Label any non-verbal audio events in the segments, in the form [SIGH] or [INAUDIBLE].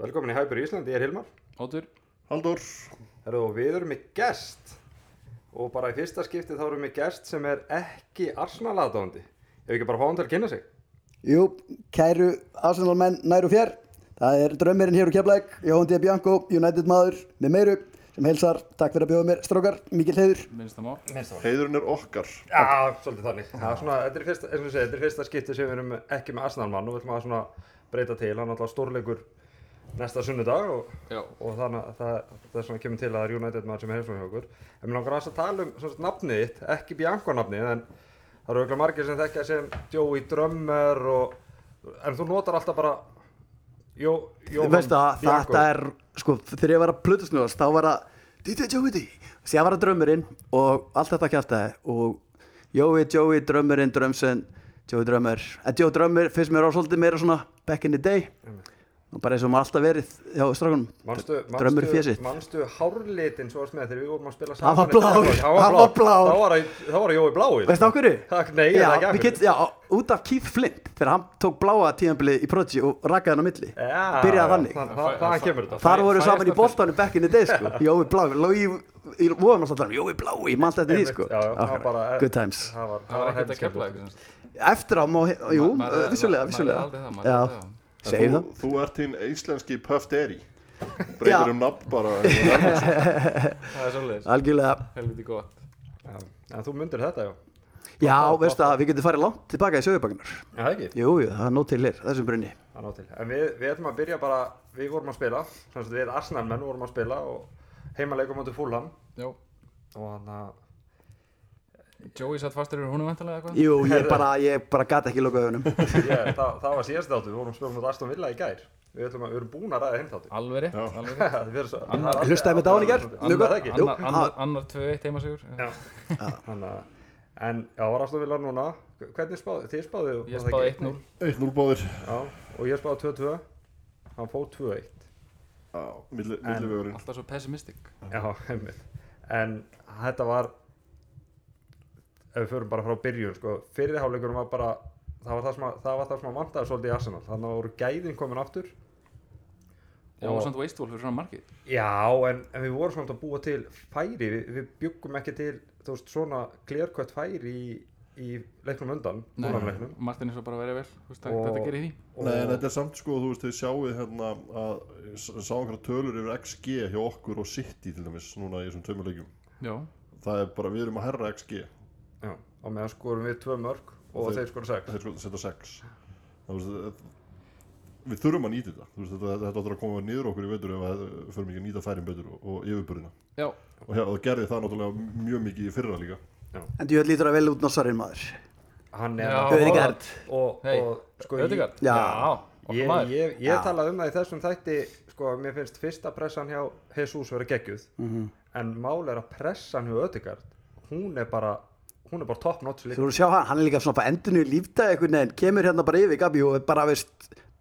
Velkomin í Hæpur Ísland, ég er Hilmar Ótur, Haldur, Herru, og Við erum með gest Og bara í fyrsta skipti þá erum við með gest sem er ekki Arsenal-aðdóndi Ef við ekki bara fá hann til að kynna sig Jú, kæru Arsenal menn nær og fjær Það er drömmirinn hér úr Keflæk Jóhann D. Bianco, United maður með meiru sem heilsar, takk fyrir að bjóða mér strókar Mikil heiður, minnst það mál. heiðurinn er okkar. Já, svolítið þannig Það er svona, þetta er, í fyrsta, eins og ég segi, þetta er í fyrsta skipti sem við erum ekki með Arsenal-mann og við ætlum að svona breyta til hann er alltaf stórleikur næsta sunnudag og, Já. og þannig að það, það er svona kemur til að það er United maður sem er heimsókn hjá okkur en mér langar aðeins að tala um svona nafnið þitt ekki Bianco nafnið en það eru auðvitað margir sem þekkja sem Joey Drömmer og, en þú notar alltaf bara Jó, Jóhann Veistu að Bianco. þetta er sko, þegar ég var að plötusnjóðast þá var það DJ Joey D síðan var það drömmurinn og allt þetta kæftæði og Joey, Joey, drömmurinn, drömsinn Joey drömmur, en Joey drömmur finnst mér á svolítið meira svona back in the day og bara eins og maður alltaf verið hjá Manstu, strákunum drömmur í manstu, fjösitt manstu hárlitin svo að með þegar við vorum að spila Hann var í Keflavík? blár, Hann var hann var blár. Þá var, þá var Jói bláir Veistu af hverju? Takk, nei, já, það er við ekki get, já, út af Keith Flint þegar hann tók bláa tíðanbilið í Prodigy og rakkaði hann á milli Já, byrjaði þannig það- það- Þaðan kemur þetta Þar voru Fæ- saman í fæðast- boltanum back in the day [LAUGHS] sko Jói Blái, Lói í vorum alltaf þar Jói Blái, mannst eftir því sko Já, já, það var bara Good times Það var, Það var ekkert að helst kepla skemmtilegt. eitthvað. Eftir á má, jú, eh, Ma- maður- vissulega, maður- vissulega maður er aldrei það, maður er aldrei Já, það. En segjum þú, það þú ert hinn íslenski Puff Derry. Breytir um nafn bara. Herru, Það er svolítið, Algjörlega, helviti gott. Já, En þú myndir þetta, já já, veistu að við getum farið langt tilbaka í sögubaknar Já, það ekki Jú, jú, það er nóg til hér, þessum brunni Það ná til En við, við ætlum að byrja bara Við vorum að spila Sanns að við Arsenal menn vorum að spila Og heimaleikum áttu fúlham Já, Og hann að [LAUGHS] Joey satt fastur yfir húnum vantilega eitthvað. Jú, ég bara, ég bara gat ekki loka augunum ég- það, það var síðast þáttu Við vorum að spila mot Aston Villa í gær Við ætlum að Við erum búin að ræða hinn þáttu Alveg rétt, alveg rétt. Hlustaði með dáin í gerð, mjög Annað gott ekki Jú, Ah. Annar- annar- Annar 2-1 heimasugur. Þannig að En já, var Aston Villa núna Hvernig spáði? Þið um spáði Ég spáði 1-0. 1-0 báðir. Já, og ég spáði 2-2 Hann fóð 2-1 Já, milli- millivegurinn. Alltaf svo pessimistic. Já, [LAUGHS] einmitt. En þetta var ef við förum bara frá byrjun sko, fyrirháleikunum var bara það var það sem að, það var það sem að vantaði svolítið í Arsenal þannig að voru gæðin komin aftur Já, Og- og samt wasteful fyrir svona markið. Já, en, en við vorum svona að búa til færi, við, við byggum ekki til þú veist, svona glerkvætt færi í, í leiknum undan búlamleiknum Martin er svo bara að vera vel, þú veist, það- Og- þetta gerir því. Nei, en þetta er samt sko, þú veist, þið sjáið hérna að sá einhverja tölur yfir XG hjá okkur og City til dæmis núna í þessum tveimur leikjum. Já, Það er bara, við erum að herra XG. Já, og meðan skorum við tvö mörg og, Og þeir- þeir skorum sex Þeir sko setja 6. Þú veist, þetta- við þurfum að nýta þetta. Þú veist, þetta, þetta áttur að koma niður okkur í veitur ef að við förum ekki að nýta færin betur og, og yfirburðina. já, og já, það gerði það náttúrulega mjög mikið í fyrra líka En þú lítur að vel út nossarinn maður Hann er Já. að- Öðegard og, hei, og sko ég, Ödegard. Já. okkar Ég, maður. ég, ég talaði um það í þessum þætti sko að mér finnst fyrsta pressan hjá Jesus vera geggjuð Mhm. en mál er að pressan hjá Ödegard hún er bara hún er bara top notch Þú líka voru að sjá hann, hann er líka svona bara endinu lífdæði einhvern veginn, kemur hérna bara yfir Gabi og er bara veist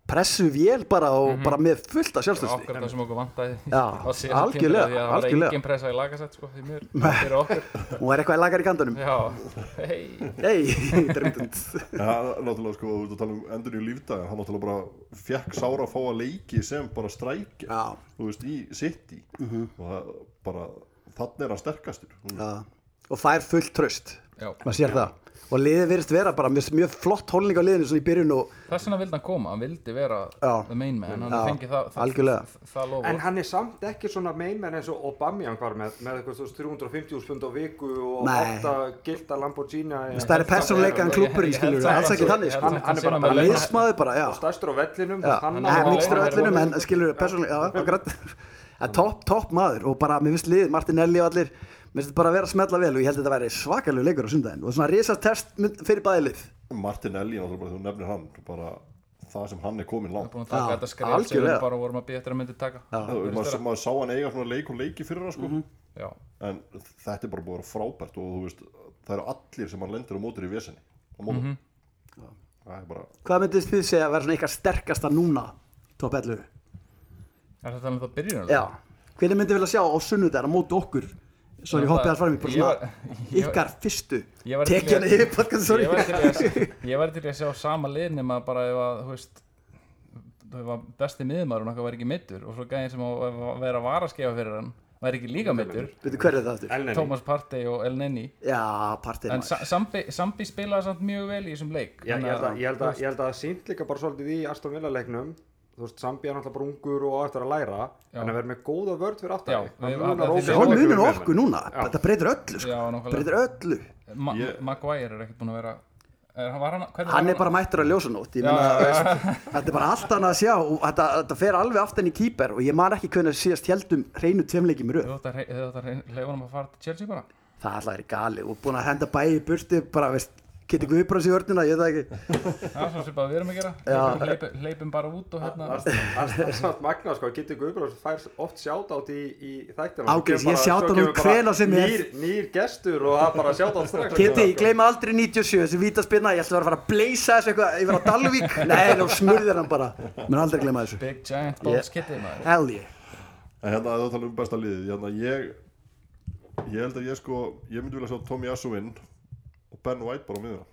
pressu vél bara og bara með fullt af sjálfstöðsni. Akkurat það sem okkur vantaði Já, [LAUGHS] á síðasta algjörlega, tímabili, því að Það var algjörlega. engin pressa í lagasett sko, því [LAUGHS] mér Fyrir okkur Hún er eitthvað lagar í kantunum. Já, hei Nei, [LAUGHS] dröndund. en hann náttúrulega sko, þú ert að tala um endur í lífdag hann náttúrulega bara fekk sára að fá að leiki sem bara strækja Já, Mhm. þú veist, í City og það bara, þannig er hann sterkastur Hún- já. Og fær fullt tröst, Já. maður sér það. Og liðið virðist vera bara mjög, mjög flott hólning á liðinu svona í byrjun og Þess vegna vildi hann koma, hann vildi vera Já. the main man, hann Já, fengi það, það algjörlega. það, það lofa en hann er samt ekki svona meinmenn eins og Aubameyang var með með eitthvað þú veist, 350 pund á viku og Nei. 8 gilda Lamborghini það er persónuleika en klúpurinn skilur, alls ekki þannig sko. Hann- hann er bara- Bara liðsmaður bara, já. og stærstur á vellinum Já, hann hann á- er bara- mikstur á hann er öllunum bara- en skilur persónulega, já, akkurat [LAUGHS] en topp, topp maður og bara mér finnst liðið Martinelli og allir, mér finnst þetta bara að vera að smetla vel og ég held að þetta væri svakalegu leikur á sundaginn og svona risast test mynd- fyrir bæði lið Martinelli, náttúrulega bara, þú nefnir hann bara það sem hann er komin langt Búin að taka Já, þetta skrif sem við algjörlega. bara vorum að býja eftir að myndi taka Það- maður, maður sá hann eiga svona leik og leiki fyrra sko. Mhm. Já, en þetta er bara búið að vera frábært og þú veist, það eru allir sem hann lendir á mótur í vesenni á mótur það er bara hvað myndist þið segja að vera svona ykkar sterkasta núna topp 11 er þetta alveg það byrjunum? já, hvernig myndið vilja sjá á sunnudaginn á móti okkur svo ég Ég hoppið var- alls fram í bara ég var- svona ég var- ykkar fyrstu Ég var til í tekja að- hann yfir podcast, sorry Ég væri til í að- ég væri til í að sjá sama lið nema bara ef að, þú veist það var besti miðmaðurinn okkar var ekki mittur og svo gæðin sem á að vera varaskefa fyrir hann var ekki líka mittur Veitu hver er það aftur? Elneni Thomas Partey og El Nenni Já, partinn en Sa- Sambi, Sambi spilaði samt mjög vel í þessum leik Já, ég Þannig held að, ég held að, ég held að það sínt líka bara svolítið í Aston Villa leiknum þú veist, Sambi er náttúrulega bara ungur og á eftir að læra Já. en að vera með góða vörð fyrir aftan Já, þig. við- Hann að- munar að- ógeðslega Já, Hún miklu um munir okkur leikmenn. núna, Já. þetta breytir öllu sko. Já, nákvæmlega. breytir öllu Ma Ég- Maguire er ekkert búin að vera er, hann, var hann, hvernig Hann var er bara mættur að ljósa nótt Já, Ég meina, já, já. veist, þetta er bara allt annað að sjá og þetta, þetta fer alveg aftan í kýper og ég man ekki hvernig síðast heldum reynu tveimleikim röð Þú átt að hrei- þú átt að leifa honum að fara til Chelsea bara Það alltaf er galið og búin að henda bæði í burti bara, veist, geti guðbrás í örnina ég veit það ekki [LAUGHS] Það er svo sem bara við erum að gera Já. Leipum- leipum, leipum bara út og hérna Það- það- það er samt magna sko, Kitty Guðbjörns fær oft sjátátt í, í þættina Ágætis, Svo kemur ég bara- sjáta svo nú kemur bara hvenær sem er. nýr, nýr gestur og það bara sjátátt strax Sko, Kitty, ég gleyma aldrei 97 þessi vítaspinna, ég ætla að vera að fara að bleysa þessu eitthvað yfir á [LAUGHS] Dalvík, nei, þá smurðir hann bara mun aldrei gleyma þessu Big Giant Ég- Balls Kitty maður Hell yeah En hérna að það tala um besta liðið hérna, ég, ég held að ég sko Ég myndi vilja sjá Tommy Assuin Og Ben White bara á miðuna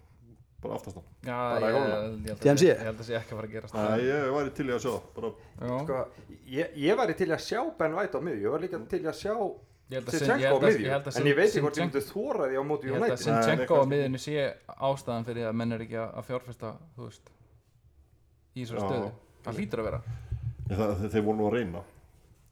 Bara aftast hann Já, í ég, ég, hólma. held að- TMC? ég held að það sé ekki að fara að gerast Æ, Ég væri til í að sjá það bara, Já. sko, ég, ég væri til að sjá Ben White á miðju, ég var líka til að sjá Ég held að Sin- ég Sinchenko á held að- miðju ég held að en ég veit ekki hvort ég Sinchenko- myndi þóra því á móti Ég held að United Sinchenko Nei, á nei, miðinu sé ástæðan fyrir að menn er ekki að að fjárfesta, þú veist, í þessari Já. stöðu. Það hlýtur að vera. ég, það, þeir- Þeir voru nú að reyna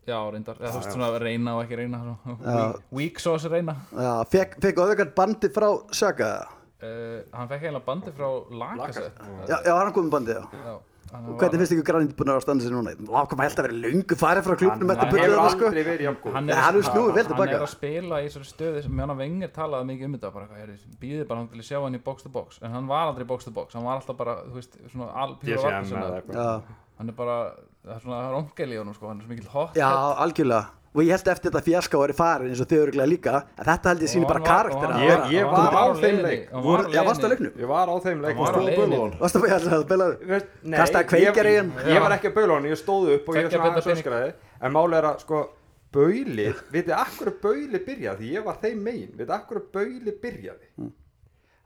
Já, reyndar. Eða, þú veist, svona reyna og ekki reyna. svona Já. Weak- Weak sauce reyna. Já, fekk, fekk öðvöggat bandi frá Saga Uh, hann fekk eiginlega bandi frá Lakaset. Já, já, hann komið bandið, já Já. hann Og var- hvernig finnst ykkur grænit búin að vera að standa sér núna? Vá, kom held að vera lungu farið frá klubnum Hann- þetta Hann hefur byrjuð þarna, sko aldrei verið jafn Nei, hann hefur snúið vel Hann tilbaka. er að spila í þessari stöðu sem hann að vengir talaði mikið um þetta bara, hvað, heyrðu, býði bara hann til að sjá hann í box to box en hann var aldrei í box to box, hann var alltaf bara þú veist, svona alpíra DSM eða vartur Já, eitthvað hann er bara, það er svona það er ongel í honum sko, hann er svo mikill hot já, algjörlega Og ég held eftir þetta fjaska væri farin eins og þau öruglega líka En þetta held ég síni bara karakter var- að vera Ég- ég var á þeim leik. Voru- Já, varstu að leiknum? ég var á þeim Hann leikum var á Góða leiðinni. bölaðan Varstu að bæja alltaf að bæla Veist, nei, Kastaði kveikjar í hann. ég, ég var ekki að baula hann, ég stóð upp og ég Kveikja svona aðeins betur öskraði en máli er að sko baulið, vitið akkur baulið byrjaði því ég var þeim megin, vitið akkur baulið byrjaði mm. Hmm.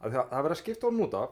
að það, það verið að skipta honum út af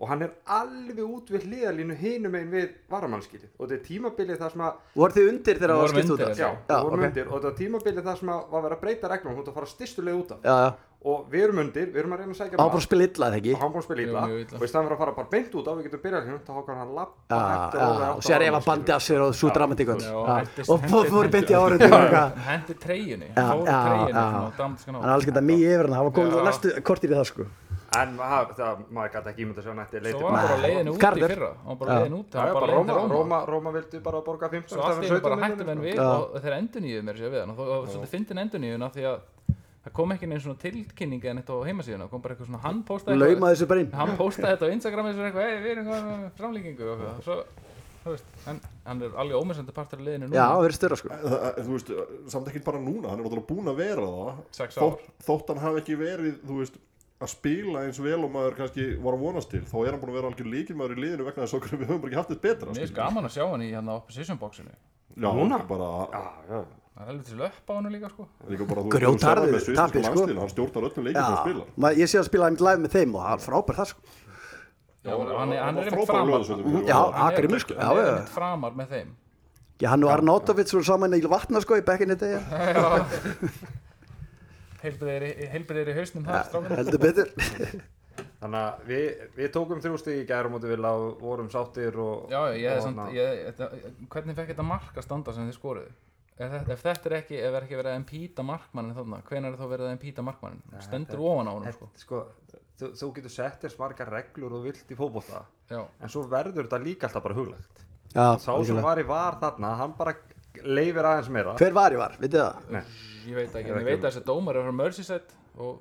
og hann er alveg út við hliðalínu hinum megin við varamannskilið og þetta er tímabilið þar sem að Voru þið undir þegar það var Vorum skipt út undir, af? já, já, ok. okay. undir, og þetta er tímabilið þar sem að var verið að breyta reglum hún átti að fara stystuleg út af Já, já og við erum undir, við erum að reyna að sækja mark Á bara að spila illa, eða ekki? og hann búin að spila illa Jú, mjög illa. og í staðan fyrir að fara bara beint út á við getum byrjað hérna þá hókar hann að lappa Já, já, Ah, og sér ef að bandi af sér og svo dramatíkun Já, og hendist- og fór fór beint í árið hann hann hendi treyjunni Já, hann fór já, treyjunni já. svona á dramatískan er alls geta mjög yfir hann, hann var komið Já. á næstu kortir í það sko en það, það, maður gæti ekki ímynda sér nætti svo var hann bara á leiðinu út í Garður. fyrra hann var bara á leiðinu út, Já, hann já, var bara bara á leiðinu Róma, Róma, til Róma Róma vildi bara borga 15 svo allt í í einu bara um hættu menn við Já. og þeir endurnýjuðu mér sér við hann og þó- og svolítið fyndin endurnýjun af því að það kom ekki neins svona tilkynning en þetta á heimasíðuna, kom bara eitthvað svona hann postaði eitthvað- lauma þessu bara inn hann postaði þetta á Instagram eins og eitthvað, hey, við erum hvað með framlíkingu og eitthvað, svo, þú veist, hann, hann er alveg ómessandi partur af liðinu núna. Já, það verður störa sko Það- það- eh, Þú veist, samt ekki bara núna Hann er náttúrulega búin að vera það Sex ár. þótt, þótt hann hafi ekki verið, þú veist að spila eins vel og maður kannski var að vonast til þá er hann búin að vera algjör líkilmaður í liðinu vegna þess okkur við höfum bara ekki haft þetta betra Mér skilur. finnst gaman að sjá hann í hann á opposition boxinu. Já, Núna? bara, Það er helviti löpp á hann líka, sko. líka bara þú Grjótharður þú sérð það með tapi, sviðsku sko. landstíðin, hann stjórnar öllum leikin sem hann Já, spilar ma- ég sé að spila einmitt live með þeim og hann er frábær það sko Já, hann, er- hann er einmitt frábær framar. lögðarsveitur Já, já, Hann er- akkur sko Já, Hann er já, einmitt framar með [LAUGHS] þeim. já Hann og Arnóttovits voru saman í vatna sko í [LAUGHS] bekkinni þetta Heilbriðir í hausnum það, strákar. Eh, Heldur betur þannig að við, við tókum þrjústi í gærum út við og vorum sáttir og, Já, já, ég og hefði samt, hérna- ég, þetta, hvernig fekk þetta mark að standa sem þið skoruðu? Er þetta, ef þetta er ekki, ef er ekki verið að impíta markmannin þarna, hvenær er þá verið að impíta markmannin? Stendur ofan á honum, sko. Þetta, sko, þú, þú getur sett þér smarga reglur og vilt í fótbolta Já, en svo verður þetta líka alltaf bara huglagt Já, sá sem var í var þarna, hann bara leifir aðeins meira Hver var ég var, vitið það? ég veit ekki, en ég veit að þessi dómar er frá Merseyside og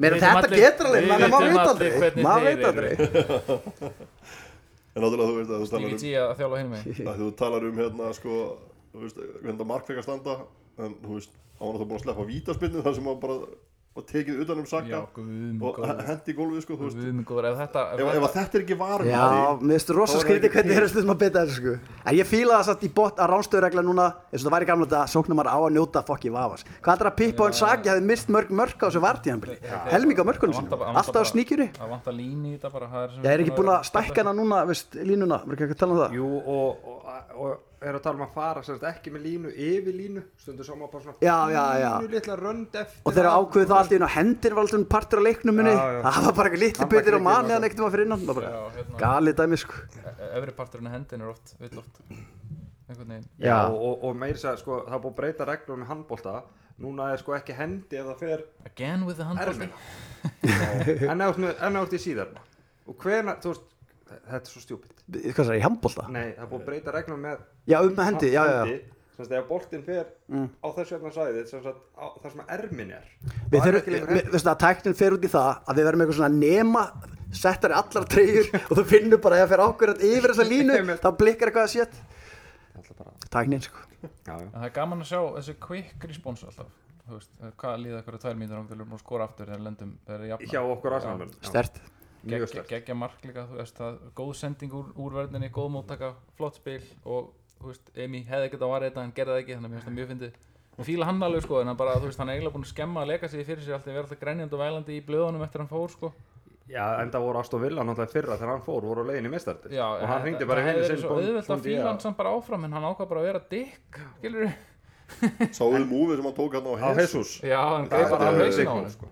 Mér Við er vitum þetta allir- getur alveg, við maður vitum maður veit allir aldrei hvernig Maður þeir veit aldrei en náttúrulega þú veist að þú talar Stíki um G að þjála hinn [LAUGHS] með að þú talar um hérna sko, þú veist, hérna Mark fekk að standa en þú veist, hann var náttúrulega búin að sleppa vítaspinnu þar sem hann bara og tekið utan um Já, Saka guðum og góður hendi í gólfið sko, þú veist Guðum góður, ef þetta ef, ef að þetta er ekki varum Já, mér finnst rosa Þá er það skrítið ekki hvernig til. þeir eru stundum að bita þessu sko. En ég fíla það satt í bot að ránstöðuregla núna eins og það væri gamla þetta að sóknum maður á að njóta fokki vafas. Hvað er það að Pippa og Sagi hefði mist mörg mörg á þessu vartíðanbili? Helming á mörkunum sinum, alltaf á sníkjuri. Það vantar línu í þetta bara það sem- Ég er ekki búin að stækka hana núna, veist, línuna, verður ekki að tala um það? Jú, og, og, og er að tala um að fara sem sagt, ekki með línu, yfir línu stundu sá maður bara svona Já, já, já. pínu litla rönd eftir Og þeir að- ákveðu það allt í einu að hendir var alltaf partur á leiknum minni. Já, já. Það var bara eitthvað litli Handtak bitir á leikinn manni og að neiktum að fyrir innan. Það var Já, bara hérna. Galið dæmi sko. E- Efri parturinn af hendin er oft, vill oft Einhvern veginn Já, og, og, og meir sér, sko, það er búið að breyta reglum með handbólta núna er sko ekki hendi ef það fer Again with the handball [LAUGHS] erfina en ef þú ert- en ef þú ert í síðar og hvena, þú veist, þetta er svo stjúpitt Hvað sagði, ég, handbolta? nei, það er búið að breyta reglum með Já, um með hendi, já, Mm. já, já. sem sagt, ef boltinn fer á þessu hérna svæðið sem sagt, á, þar sem ermin er þá Við er þurfum, ekki lengur við- hendi. veistu það, tæknin fer út í það að við verðum eitthvað svona nema settar í allar treyjur og þú finnur bara að það fer ákveðrætt yfir þessa línu, [LAUGHS] Einmitt. þá blikkar eitthvað að sétt. Ég ætla bara- Tæknin, sko. já, já. En það er gaman að sjá þessi quick response alltaf Þú veist, eh, hvað líða ykkur að tvær mínútur og við erum að skora aftur þegar lendum þegar er jafna hjá okkur aðsannum Stert. mjög Gegg- stert geggja mark líka, þú veist það góð sending úr, úr verðinni, góð móttaka flott spil og þú veist Emi hefði ekkert að vara þetta, hann gerði það ekki þannig að mér finnst það mjög fyndið og fíla hann alveg sko en hann bara, þú veist, hann er eiginlega búin að skemma að leika sig fyrir sér alltaf, vera alltaf grænjandi og vælandi í blöðunum eftir hann fór sko já, en það voru Aston Villa náttúrulega í fyrra þegar hann fór voru á leiðin í mistartil Já, og hann en hringdi það- bara í það vinnu hefði verið sinn svo bón- auðvelt að bóndi í fíla hann samt bara áfram en hann ákvað bara að vera dick, skilur sáuðu múfið sem hann tók hann á á Jesus Jesus Já, hann það var greið bara að alveg hausin á diggmúl hann sko.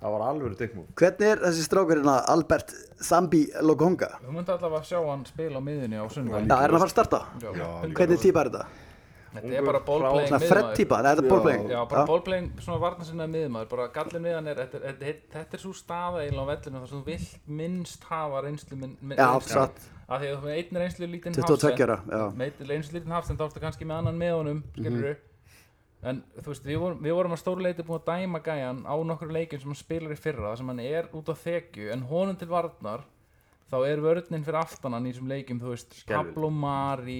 það var alveg diggmúl Hvernig er þessi strákurinn að Albert Zambi Lokonga? Þú myndi alltaf að sjá hann spila á miðunni á sundag Já, er hann að fara að starta? Já, líka. Hvernig típa er þetta? Þetta er bara Ungur, ballplaying Svona Fred típa, nei, þetta er bólplegin. Já, bara ballplaying, svona varnarsinnaði miðmaður bara gallin við hann er, þetta er, þetta er, þetta er svo staða eiginlega á vellinu þar sem þú vilt minnst hafa reynslu minn, minn, Já, reynslu. satt. Af því að þú með einn reynslu lítinn 22 hafsend ára, já. Mhm. með einn reynslu lítinn hafsend þá ertu kannski með annan með honum, skilur en þú veist, við vorum, við vorum að stóruleiti búin að dæma gæjan á nokkru leikjum sem hann spilar í fyrra, þar sem hann er út á þekju en honum til varnar þá er vörninn fyrir aftan hann í þessum leikjum þú veist, Skelfilegt. Pablo Mari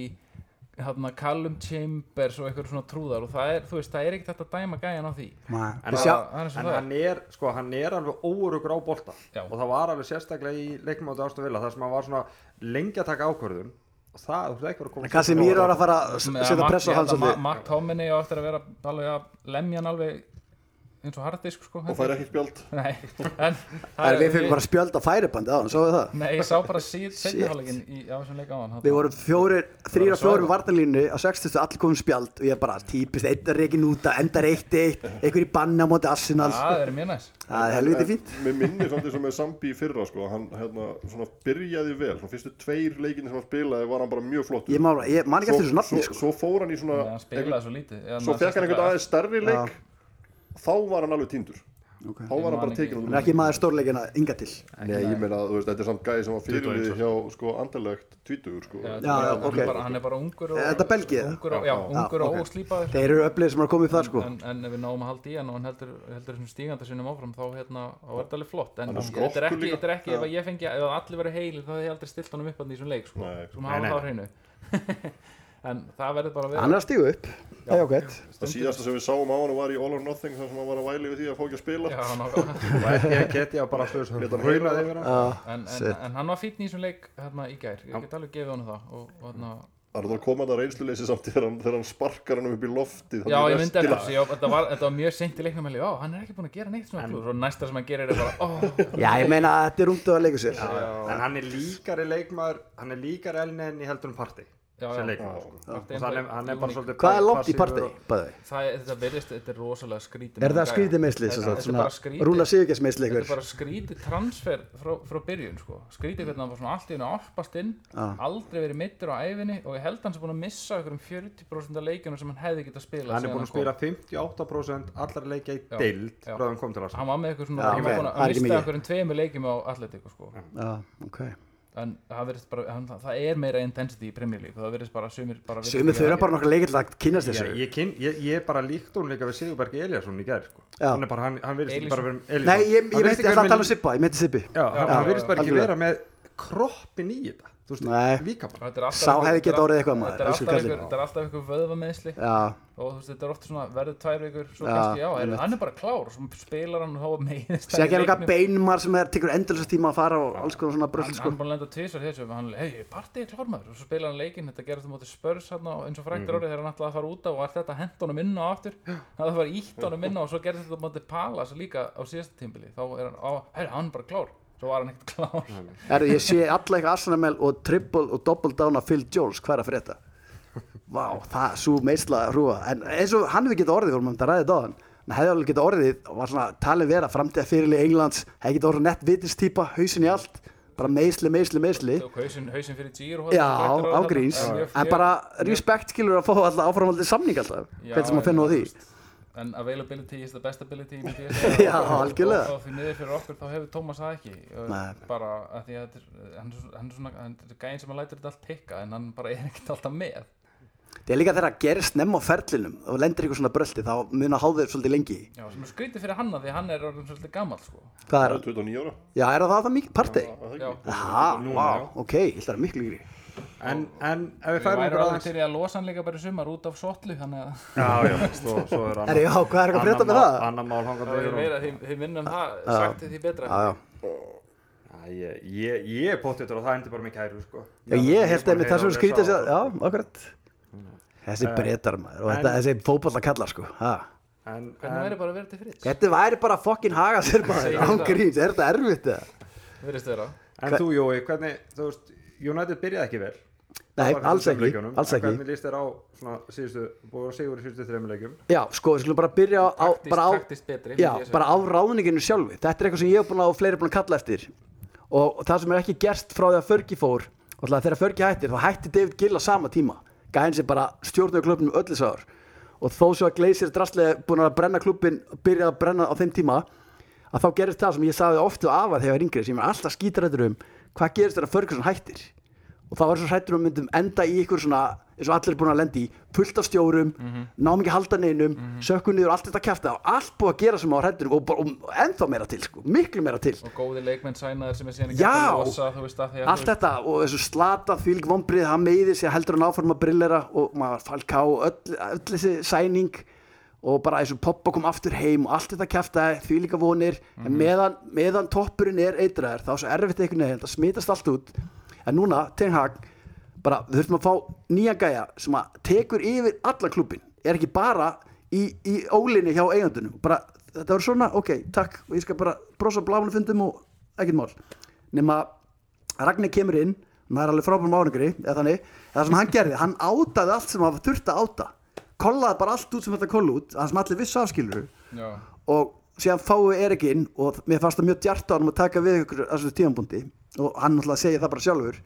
hérna, Callum Chambers og eitthvað svona trúðar og það er, þú veist, það er ekkert hægt að dæma gæjan á því Nei. En Við sjá, það er eins og en það er hann er, sko, hann er alveg óurugur á bolta Já. og það var alveg sérstaklega í leikmáti Aston Villa þar sem hann var svona lengi að taka ákvörðun og það, þú veist ekki að koma Kassi Mýr var að fara að s- Með að setja Mark- pressa á ég hans held að Ma- allir. Mark Tomini á eftir að vera alveg að lemja hann alveg eins og harddisk sko og fær ekki spjald Nei, en Það er við fengum bara spjöld á færibandi á hann, svo við það. Nei, ég sá bara síð Shit. setjahálegin á þessum leik á hann Við vorum fjórir, þrýra Bara fjórir svæfa. með varnarlínu á 60 allir komum spjald og ég bara típist, einn reikin úta, endar eitt eitt, einhver í banna á móti Arsenal. Það er mjög næs Það er helviti fínt. Mér minnir samt eins og með Sambi í fyrra sko, hann hérna, svona byrjaði vel, svona fyrstu tveir leikinni sem hann spilaði var hann bara mjög flottur. Ég, má, ég man ekki eftir þessu nafni svo, svo sko. fór hann í svona, Nei, Hann spilaði svo lítið Ég, svo hann- fekk hann einhvern aðeins stærri leik, Já. þá var hann alveg týndur. Ok. Þá var Ég hann man bara ekki. tekinn Hann út. er ekki maður stórleikina ynga til Nei, ég meina, þú veist, þetta er samt gæði sem var 21 fyrirlið hjá, sko, andalegt tvítugur, sko. Já, Já, já, hann er ok. bara- Hann er bara ungur og Er þetta Belgía? Ungur og, já, ungur og ok. óslýpaður Þeir eru öflegir sem eru að koma upp það sko en, en ef við náum að halda í hann og hann heldur, heldur þessum stígandi sinum áfram þá hérna, þá er þetta alveg flott en Hann er þetta er skrokkur ekki, líka. þetta er ekki ef að ég fengi, ef að allir verið heilir þá hefði ég aldrei stilt honum upp hann í þessum leik sko, Nei. sem Nei, hafa nei. það á hreinu [LAUGHS] en það verður bara að vera Hann er að stígu upp Það er ákveðt Það síðasta sem við sáum á hann var í All or Nothing, þar sem hann var að væli við því að fá ekki að spila. Já, hann á- [LAUGHS] og ekki að getja bara slös hann hraunað yfir hann en, en, Shit. en hann var fítn í þessum leik hérna í gær, ég get alveg gefið hann það og, og hérna, Það er það að koma hann að reynsluleysi samt þegar hann, þegar hann sparkar hann upp í loftið. já ég myndi eftir þessu, já, þetta var, þetta var mjög seint í leiknum held ég, já, hann er ekki búin að gera neitt svona klúr og næsta sem hann gerir er bara, ó, Já ég meina að þetta er út að leika sér en hann er líkari leikmaður hann er líkari elni í heldur en parti Já, já. sem leikmaður sko. Já. og hann er, hann er bara svolítið Hvað er langt í passífur partí? og- bæði? það er, þetta verðist, þetta er rosalega skrítið Er það skrítið meisli? Þetta- þetta er Svona bara skrítið. rúla sigurgjarsmeisli Þetta er ykkur bara skrítið transfer frá, frá byrjun sko. skrítið hvernig hann var svona allt í hennu álpast inn Já. aldrei verið mittur á æfinni og ég held hann sem búin að missa okkur um 40% af leikjunum sem hann hefði getað spilað hann er síðan búin að kom. spila 58% allra leikja í Já, deild já. frá hann kom til hans sko. hann var með eitthvað svona, Já, hann ok, var búin það er að ekki mista mikið. okkur um tveimur leikjum á Atletico sko. Já ok en það, virðist bara, hann, það er meira intensity í Premier League það verðist bara sumir bara Sumir þau eru bara nokkuð leikill að kynnast Já, þessu ég, kyn, ég, ég er bara líkt hún líka við Sigurberg Eliasson í gerð sko. Já. hann er bara, hann, hann virðist ekki Elísson. bara verið Nei ég ég veit ég ætla að tala um Sippa, ég meiti Sippi Já, hann, já, hann virðist bara ekki algjörlega. vera með kroppin í þetta þú Nei. veist, líkamann Þetta er alltaf Sá einhver- hefði getað þetta er orðið eitthvað, maður, þetta er elsku alltaf kallinn. einhver- Þetta er alltaf eitthvað vöðvameðsli já, og þú veist, þetta er ofta svona verður tvær vikur, svo Já, kannski já, er, einmitt. hann er bara klár og svo spilar hann og þá meiðist sé hann í ekki eitthvað leiknum. beinmar sem er tekur endalist tíma að fara og alls konar svona bröld hann, sko. hann búin að lenda tvisar þessu hann, hei, partí er klár maður og svo spilar hann leikinn, þetta gerði þú mótið spörs hann á, eins og Mhm. fræktur árið þegar hann ætlaði að fara út á og var þetta hent honum inn á aftur það var bara ítt honum inn á og svo gerði þetta mótið Palas líka á síðasta tímbili þá er hann, á, herri, hann er bara klár svo var hann ekkert klár Herru, ég sé alla eitthvað Arsenal og triple og double down að Phil Jones, hvað er að frétta? Vá, það, svo meisla rúa, en eins og hann hefur getað orðið, vorum að ræða þetta á hann, hann hefði alveg getað orðið og var svona talin vera framtíða fyrirlið Englands, hefði getað orðið nett vitistýpa, hausin í allt, bara meisli, meisli, meisli, tók hausin, hausin fyrir Giro já, hérna. ágríns, en bara respect skilur að fá alltaf áframaldið samning alltaf, Já, hvernig sem að finna á en, því, þú veist, en availability is the best ability [LAUGHS] myndi ég segja. Já, Og- algjörlega. og, og því miður fyrir okkur þá hefur Tómas það ekki Og Nei. bara að því að þetta er- hann er svo- hann er svona hann er gæinn sem að lætur þetta allt pikka en hann bara er ekkert alltaf með það er líka þegar að gerist nefn á ferlinum og lendir ykkur svona bröldi, þá muna háður svolítið lengi, í. já, sem er skrítið fyrir hann að því að hann er orðin svolítið gammal sko. hvað Það er, er 29 ára já, er það það mikið partey? það já, ekki? Aha, Núna, vá, já. ok, ég held að það er miklu yngri en, en ef ég við færum væri okkur orðin aðeins til í að losa hann líka bara í sumar út af sotlu þannig að já, [LAUGHS] já, svo, svo er Herri, já, hvað er eitthvað að frétta með það? annar mál hangandi það yfir er honum. meira því, því minnum það sagt því betra Já, já. Æ, ég, ég, ég er pottitur og það endur bara með kæru sko. Já, ég held búin einmitt heyra það sem og skrítið lesa sér, já, akkurat Þessi breytar maður og þetta, en- þessi fótballa kallar sko ha. á- en, hvernig væri bara að vera til fritt Þetta væri bara fokkin haga sér maður, Segir það. ángríns, er þetta erfitt eða? verðist þeirra en þú Jói, hvernig þú veist, United byrjaði ekki vel Nei, Það var alls fyrir ekki, um leikjunum. alls En ekki hvernig líst þér á svona, síðustu, búið að sigur í síðustu þreim leikjum Já, sko, við skulum bara byrja á, á Taktist- bara á, taktist betri, já, myndi ég segja. bara á ráðninginu sjálfi Þetta er eitthvað sem ég hef búin að og fleiri búin að kalla eftir og það sem er ekki gerst frá því að Förgi fór og alltaf þegar Förgi hættir, þá hætti David Gill á sama tíma Gæðin sem bara stjórnaði klubnum öllu sár og þó svo að Gleisir drastlega búin að brenna klubin byrja að brenna á þeim tíma að þá gerist það sem ég sagði oft og afa þegar ég var yngri sem ég var alltaf skítrættur um hvað gerist þegar Ferguson hættir og þá var ég svo hrættur um að myndum enda í ykkur svona eins og allir er búin að lenda í fullt af stjórum, náum ekki að halda neinum mm -hmm. sökkunniður, allt þetta kæfta og allt búið að gera sem á hrætturum um og, bara- og ennþá meira til sko, miklu meira til og góði leikmenn sænaðir sem er síðan ekki hægt Já. að losa þú veist að því að allt þetta og þessu slata þvílg vombrið, hann meiði sig heldur hann áfram að brillera og maður falká og öll, öll þessi sæning og bara þessu poppa kom aftur heim og allt þetta kæfta þvílíka vonir Mhm. en meðan, meðan toppurinn er eitraðar þá er svo erfitt einhvern veginn, það smitast allt út en núna, Ten Hag bara við þurfum að fá nýja gæja sem að tekur yfir alla klubin er ekki bara í, í ólinni hjá eigandunum bara þetta voru svona, ok, takk og ég skal bara brosa blámanum fundum og ekkert mál nema Ragnar kemur inn hann er alveg frábærum árangri eða þannig, eða sem hann gerði, hann átaði allt sem hann þurfti að áta kollaði bara allt út sem þetta kolla út það sem allir vissu afskilur já, og síðan fáum við Erik inn og mér fannst það mjög djart á hann að taka við ykkur á þessu tímanbúndi og hann náttúrulega segja það bara sjálfur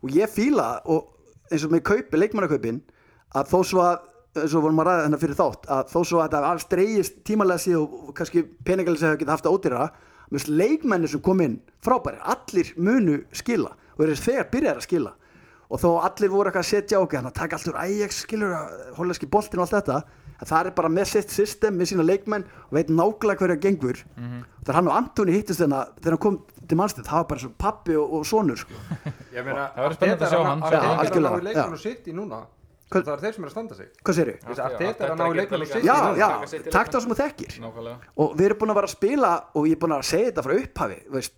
og ég fíla og eins og með kaupi, leikmannakaupin að þó svo að eins og vorum að ræða þennan fyrir þátt að þó svo að þetta alls dreigist tímalega síð og kannski peningalega séð að geta haft að ódýra mjög leikmennir sem kom inn frábæri, allir munu skila og eru þegar byrjar að skila og þó allir voru eitthvað að setja okkur þannig að taka allt úr Ajax skilur hólaski boltin og allt þetta en það er bara með sitt system, með sína leikmenn og veit nákvæmlega hverja gengur mm Mhm. -hmm. þegar hann og Antoni hittist þennan þegar hann kom til mannstætt, það var bara svo pappi og, og sonur sko. Ég meina, Það verður spennandi að sjá hann. Arteta Já, er að ná algjörlega, í leikmenn já. og sitt í núna Hvern- Það er þeir sem er að standa sig hvað segir þau? Þessi Arteta er að Arteta ná í getur leikmenn og líka- sitt í Já, núna já, taka sitt í takk það sem þú þekkir nákvæmlega og við erum búin að vera að spila og ég er búin að segja þetta frá upphafi þú veist,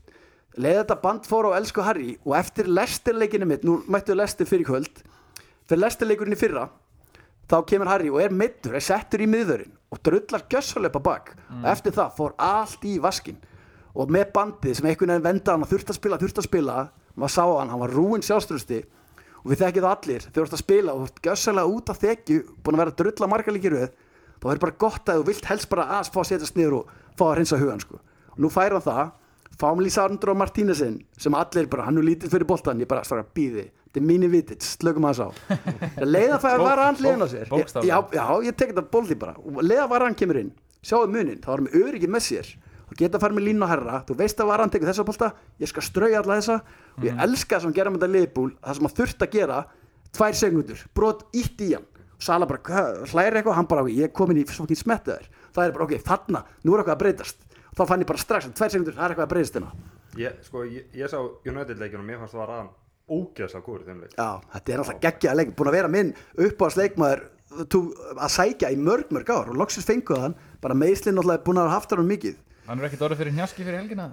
leið þetta band fór á Elsku Harry og eftir lestirleikinu mitt, nú mættu lestir fyrir kvöld fyrir lestirleikurinn í fyrra þá kemur Harry og er middur er settur í miðurinn og drullar gjössalöpa bak og eftir það fór allt í vaskin og með bandið sem einhvern veginn venda hann að þurft að spila, þurft að spila maður sá hann, hann var rúin sjálfströsti og við þekkið það allir, þegar þú ert að spila og þú ert gjössalega út af þekju búin að vera að drulla marga leikir við þá er bara gott að þú vilt helst bara að fá að setjast niður og fá að reynsa hugan sko. og nú fær hann það, fáum Lísa Arndur og Martínesin sem allir bara, hann er lítið fyrir boltan ég bara svara býði, þetta er mínu vitið slökum hans á, leiða fæði að vara hann hliðin á sér, Bók- bókstaflega. já, já, ég tek þetta bólði bara, Og leiða var hann kemur inn sjáðu munin, þá varum við öryggið með sér og geta að fara með línu og herra, þú veist að var hann tekur þessa bólta, ég skal strauja alla þessa og ég elska það sem gera með þetta liðbúl það sem að þurft að gera, tvær segundur brot ítt í hann, Sala bara "Hvað?" hlæri eitthvað, hann bara, ég er komin í svokin smettaður, það er bara, ok, þarna, nú er eitthvað að breytast þá fann ég bara strax, tvær segundur, það er eitthvað að breytast hérna Ég, sko, ég, ég sá United leikinu og mér fannst það var aðan ógeðslega góður í þeim leik. Já, þetta er alltaf geggjaða leik Búin að vera minn uppáðsleikmaður tú- að sækja í mörg mörg ár og loksins fenguð hann bara meðslinn náttúrulega búin að hafa haft hann mikið Hann er ekkert orðið fyrir hnjaski fyrir helgina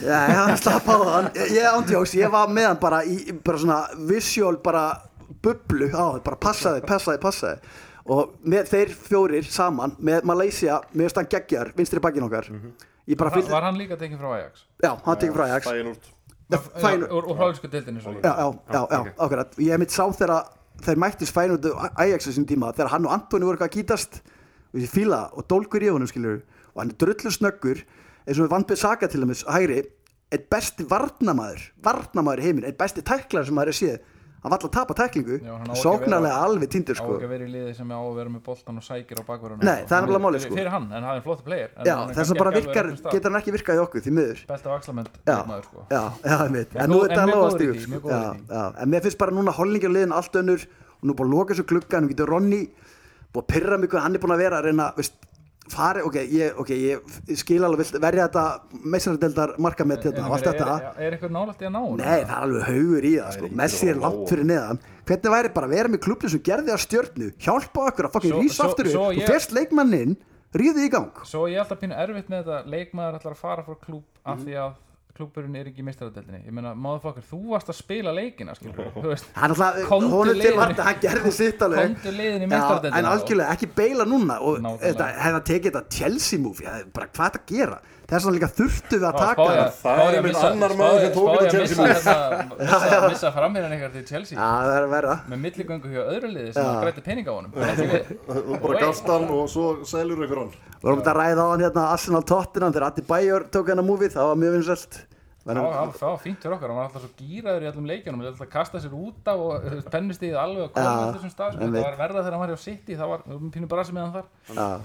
Já, já, slapp á það Hann- Ég ándjóks, ég var með hann bara í bara svona visual bara bublu á það, bara passaði, passaði, passaði og með, þeir fjórir saman með Malaysia, með stann geggjar vinstri bakinn okkar ég bara Mhm. Hann- fylgði, Var hann líka tekinn frá Ajax? já, hann tekið frá Ajax Dæin úrt Fæn, Já, Og hláðisku deildinni svo já, líka já, já, já, ok. akkurat ég hef mitt sá þegar þeir mættist fænund Ajax þessum tíma, þegar hann og Antoni voru eitthvað að kýtast og ég fíla það og dólkur í honum skilur og hann er drullu snöggur eins og við vandbið Saka til dæmis hægri, eitt besti varnamaður varnamaður í heiminn, eitt besti tæklar sem maður er séð, hann var alltaf að tapa tæklingu Já, hann á ekki að sóknarlega vera- alveg tindur Á sko ekki að vera í liði sem á að vera með boltan og sækir á bakverðunum Nei, það er nefnilega málið, sko. Fyrir hann, en hann er flott player en já, hann er þess kannski að bara ekki alveg á virkar, réttum stað. getur hann ekki virkað í okkur því miður Besta vaxlament Já, maður sko já, já, einmitt En En nú góð- er þetta en mjög alveg að góður í því, mjög stígur góður Já, í því. já, En mér finnst bara núna holningin liðin allt önnur og nú er búin að loka þessu glugga en nú getur Ronni búin að pyrra mig hvað hann er búin að vera að reyna veist, fari, ok, ég, okay, ég skil alveg vilt verja þetta meistardeldar marka með En þetta og allt er- þetta er- Er eitthvað nálægt í að ná hún? Nei, það er alveg haugur í það, sko. yngra Messi er og langt lága. fyrir neðan Hvernig væri bara að vera með klubni sem gerði að stjörnu hjálpa okkur að Svo- fucking rís svo- aftur upp svo og ég- fyrst leikmannin ríði í gang Svo ég er alltaf pínu erfitt með þetta leikmaður ætlar að fara frá klúb af því að klúburinn er ekki í mistaradeldinni Ég meina, motherfucker, þú varst að spila leikina, skilur Þú veist, hann alltaf, Komdu eh, honum til leiðinni. varta, hann gerði sitt alveg Komdu leiðinni í Já, meistaradeildina en þá. algjörlega ekki beila núna og eh, Nákvæmlega. þetta, hefði að tekið þetta Chelsea move, ég, hefði bara hvað þetta gera þess vegna líka þurftu við að taka spáði það að- það spáði er að minn missa- annar maður sem spáði- tók spáði þetta að Chelsea missa þetta- missa- [LAUGHS] Missa framherjan eitthvað til Chelsea já, það er að vera Með milligöngu hjá öðru liði sem að græti pening á honum Þetta er við- og bara gafst hann og svo selur ykkur hann við vorum að ræða á hann hérna Arsenal Tottenham þegar Adi Bajor tók hann að movie það var mjög vinsvælt Já, það- það var fínt fyrir okkar, hann var alltaf svo gýraður í allum leikjunum, hann var alltaf að kasta sér út af og þú veist, pennustíðið alveg að koma Já, á þessum stað, sko. einmitt. það var verða þegar hann var hjá City, það var um pínu brasi með hann þar.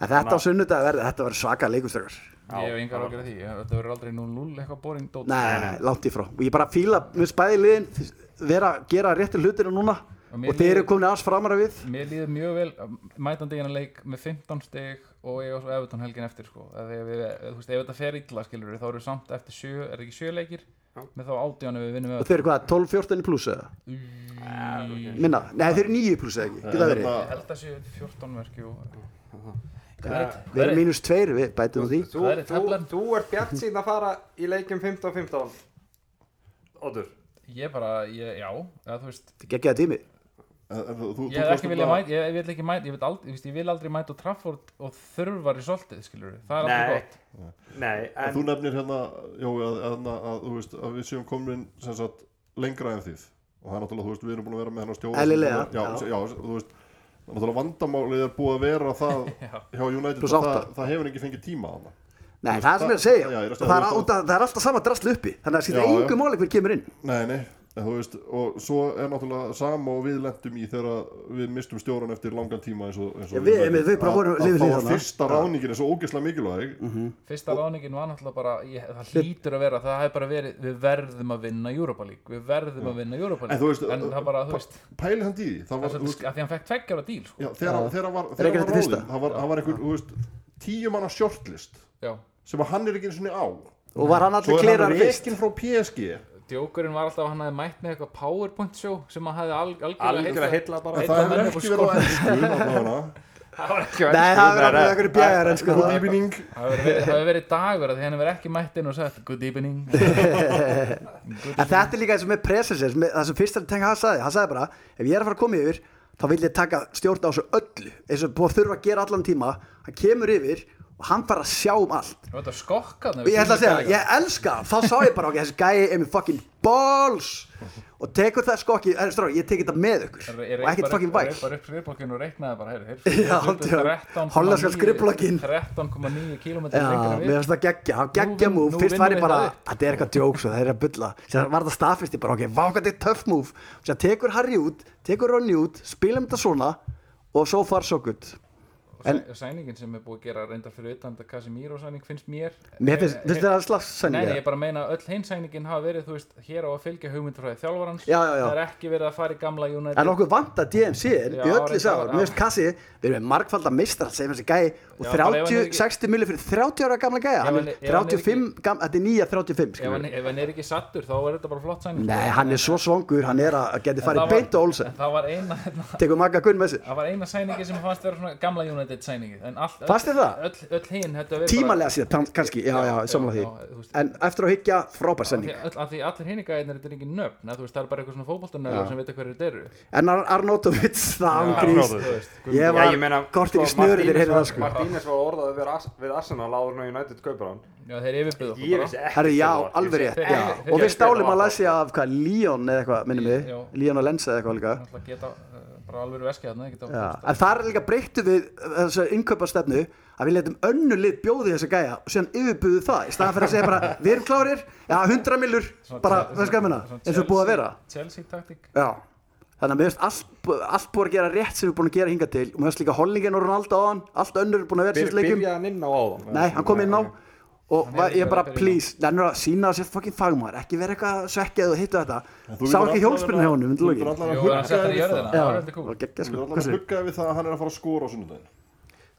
en þetta á sunnudag verði þetta verði svaka leikustökar Ég hef engar ágjörð af því, þetta verður aldrei 0-0 eitthvað boring dót. nei, langt í frá og ég bara fíla, við spæði liðin vera að gera réttir hlutinu núna Og mér og þeir eru líður- komin aðs framara við Mér líður mjög vel um, mætandi í hennar leik með 15 steg og ég á svo Everton helgin eftir sko. Ef, ef, ef, ef, veist, ef þetta fer illa skilur við, þá eru við samt eftir 7, er ekki 7 leikir, með þá 18 ef við vinnum og Everton. þeir eru hvað, 12-14 pluss eða? minna, nei þeir eru 9 pluss eða hérna, ekki geta verið, Ég held að séu 14 verki og... við erum mínus 2 við bætum á því, Þú, Hvað er í þú, taflan? þú ert bjart síðan að fara í leikum 15-15. Odur. Ég bara, ég, já, eða, þú veist, þetta er geggjaða tími En- en þú- þú- ég þú hef varst ekki viljað nefnilega- mæta, ég, ég vil ekki mæta, ég, vil aldrei, ég, ég vil aldrei mæta á Trafford og þurfar í soltið skilur við, það er aldrei Nei. gott. Nei, En þú en nefnir hérna, Jói, að, að, að, þú veist, að við séum komin sem sagt, lengra en þið og það er náttúrulega, þú veist, við erum búin að vera með hérna hennar stjóð já, Eðlilega, já. já. já, þú veist náttúrulega vandamálið er búið að vera það [LAUGHS] hjá United, Plús að það, átta. það hefur ekki fengið tíma þarna. nei það er sem ég er að segja Já, ég er að segja, það þú er, veist, út af- það er alltaf sama drastl uppi þannig að Já, það já. skilja yngu máli hver kemur inn Nei, nei, en þú veist og svo er náttúrulega sama og við lendum í þegar við mistum stjóran eftir langan tíma eins og, eins og Já, við- við- hérna. við bara Að- vorum að hlið við þá hlið var þarna. fyrsta ráningin er svo ógeðslega mikilvæg Mhm. Fyrsta ráningin var náttúrulega bara, ég, það hlýtur að vera, það hefði bara verið, við verðum að vinna Europa League, við verðum að vinna Europa En þú veist, League, en það bara, þú veist, pæli hann í því, það það er var, þú svolítið, veist, sk- af því hann fekk tveggjara díl, sko, já, þegar þegar hann var, Er ekki þegar hann þetta var fyrsta? ráðinn, það var, það var einhver, þú veist, tíu manna shortlist já, sem að hann er ekki eins og niður á og var hann svo allir er hann klerar fyrst reikin frá PSG djókurinn var alltaf að hann hefði mætt með eitthvað powerpoint show sem hann hefði alg, algjörlega algjörlega heilla bara. Heill- það Einn hefur mann upp á ekki verið á ennsku [LAUGHS] náttúrulega. nei það er verið einhverju bjæðar en sko good evening það hefði verið, það hefði verið dagur að því hann hefði verið ekki mætt inn og sagt good [LAUGHS] evening, en þetta er líka eins og með presensins með, það sem fyrst að tenga hann sagði, hann sagði bara ef ég er að fara að koma yfir þá vil ég taka stjórn á þessu öllu eins og búið að þurfa að gera allan tíma hann kemur yfir og hann fara að sjá um allt og þetta skokkaði Og ég ætla að segja, það, ég elska það þá sá ég bara okkur, þessi gæi er með fucking balls og tekur það sko skokki er, strá, ég tek þetta með ykkur og ekkert fucking væl Ég reyð bara upp skrifblokkinu og reiknaði bara, heyrðu, Já, já. Hollenska skrifblokkin. 13,9 km Já, mér finnst það geggja, hann Nú geggja vinn- múf nú fyrst vinnum var ég við bara, það upp. þetta er eitthvað djóks og það er að bulla, sér var það staðfist ég bara, ok, vá hvað þetta er töff múf sér tekur Harry út, tekur Ronny út, spilum þetta svona og so far so good En- og sæningin sem er búið að gera reyndar fyrir utan þetta Casemiro sæning finnst mér Mér finnst Eh, finnst eh, þetta slags Nei, nei, sæninga ég bara meina að öll hinn sæningin hafa verið, þú veist, hér á að fylgja hugmyndfræði þjálfarans Já, já, já. Það er ekki verið að fara í gamla United En okkur vantar DMC -in í Já, öllu reyndar, sár já. Mér finnst Kassi, við erum með margfalda meistrar sem þessi gæi Já, bara og ef hann er 30, ekki- 60 millir fyrir 30 ára gamla gæja Hann hann er er- ef hann er 35, gam- þetta er nýja 35 ef, hann, skilur. ef hann er ekki sattur, þá er þetta bara flott sæning Nei, hann er svo svangur, hann er að geti En það farið var- beint á Olsen en Það var eina, [LAUGHS] hérna, Tekur Magga Gunn með sér það var eina sæningi sem fannst vera svona gamla United sæningi En allt, öll- Fannst þér það? Öll, öll hinn, þetta verið Tímalega síðan, tam- kannski, já, já, samla því þú veist, En eftir að hyggja, Af frábær því, sending öll- af því allir hinningaðirnir, þetta er engin nöfn að, þú veist, það er bara eitthvað svona fótboltanöður Já. sem veit hverju þetta eru En Ar- Arnautovic, [LAUGHS] það Já, ángrís Arnautovic. Þú veist, guð- Ég Já, ég var meina, kortir í sko, snöru þeir Martínez heyrðu var- það sko Martínez var orðað við, Ars- við Arsenal áður en United kaupar hann Já, þeir yfirbyggðu okkur Ég vissi ekki Herri, já, hver það var. alveg rétt, Þeir- [LAUGHS] já þeir- Og við þeir- stálum þeir- að læsja af hvað, Líón eða eitthvað, minnum við Já. Líón og Lensa eða eitthvað líka náttúrulega geta uh, bara alveg veskið þarna geta, Já, en þar er líka breyttu við þessar innkaupastefnu að við letum önnu lið bjóði þessa gæja og síðan yfirbuðu það í staðan fyrir að segja bara við erum klárir, já 100 millur bara, það skal minna, eins og búið að vera Chelsea taktík Já, þannig að mér finnst allt, allt búið að gera rétt sem við erum búin að gera hinga til og mér finnst líka hollingin og Ronaldo á hann allt önnur er búin að vera í Byr- þessu leikum Byrjaði hann inn á áðan Nei, hann kom inn á og Hann er var, ekki ég bara, verið að byrja please, lennur að sína sér fucking fagmaður, ekki vera eitthvað svekkjað og hittu En þetta þú Sá getur ekki allan hjólspilin hjá að- honum, Þú undir getur lókin allan að Jú, hann hugga settur í yfir jörðina, Já, það var heldur og kúl geggja Þú sko, getur allan hvað að sér hugga yfir það að hann er að fara að skora á sunnudaginn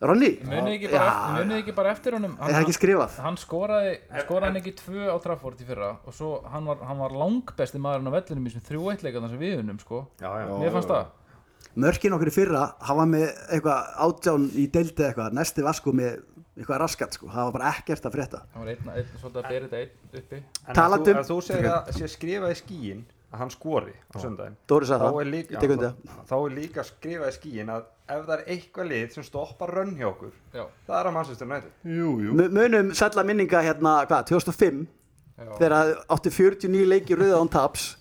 Ronny, Munið ekki, bara Já. eftir- munið ekki bara eftir honum er það ekki skrifað? hann skoraði, skoraði hann ekki tvö á Trafford í fyrra og svo hann var, hann var langbesti maðurinn á vellinum í þessum þrjú eittleikarnar sem við unum sko Já, já Mér fannst það mörkin okkur í fyrra hann var með eitthvað átján í deildi eitthvað, næsti var sko með eitthvað raskat sko, það var bara ekkert að frétta Hann var einn, einn svolítið að bera þetta einn uppi En Talandi að þú- um- Ef þú segir að sé skrifað í skíin að hann skori á söndaginn Dóri þá sagði er, það, líka, ég tek undir þá, þá er líka skrifað í skíin að ef það er eitthvað lið sem stoppar rönn hjá okkur Já, það er að mannsvistur nættu Jú, jú það munum sætla minninga hérna, hvað, 2005 já, þegar að átti 49 leiki rauða án taps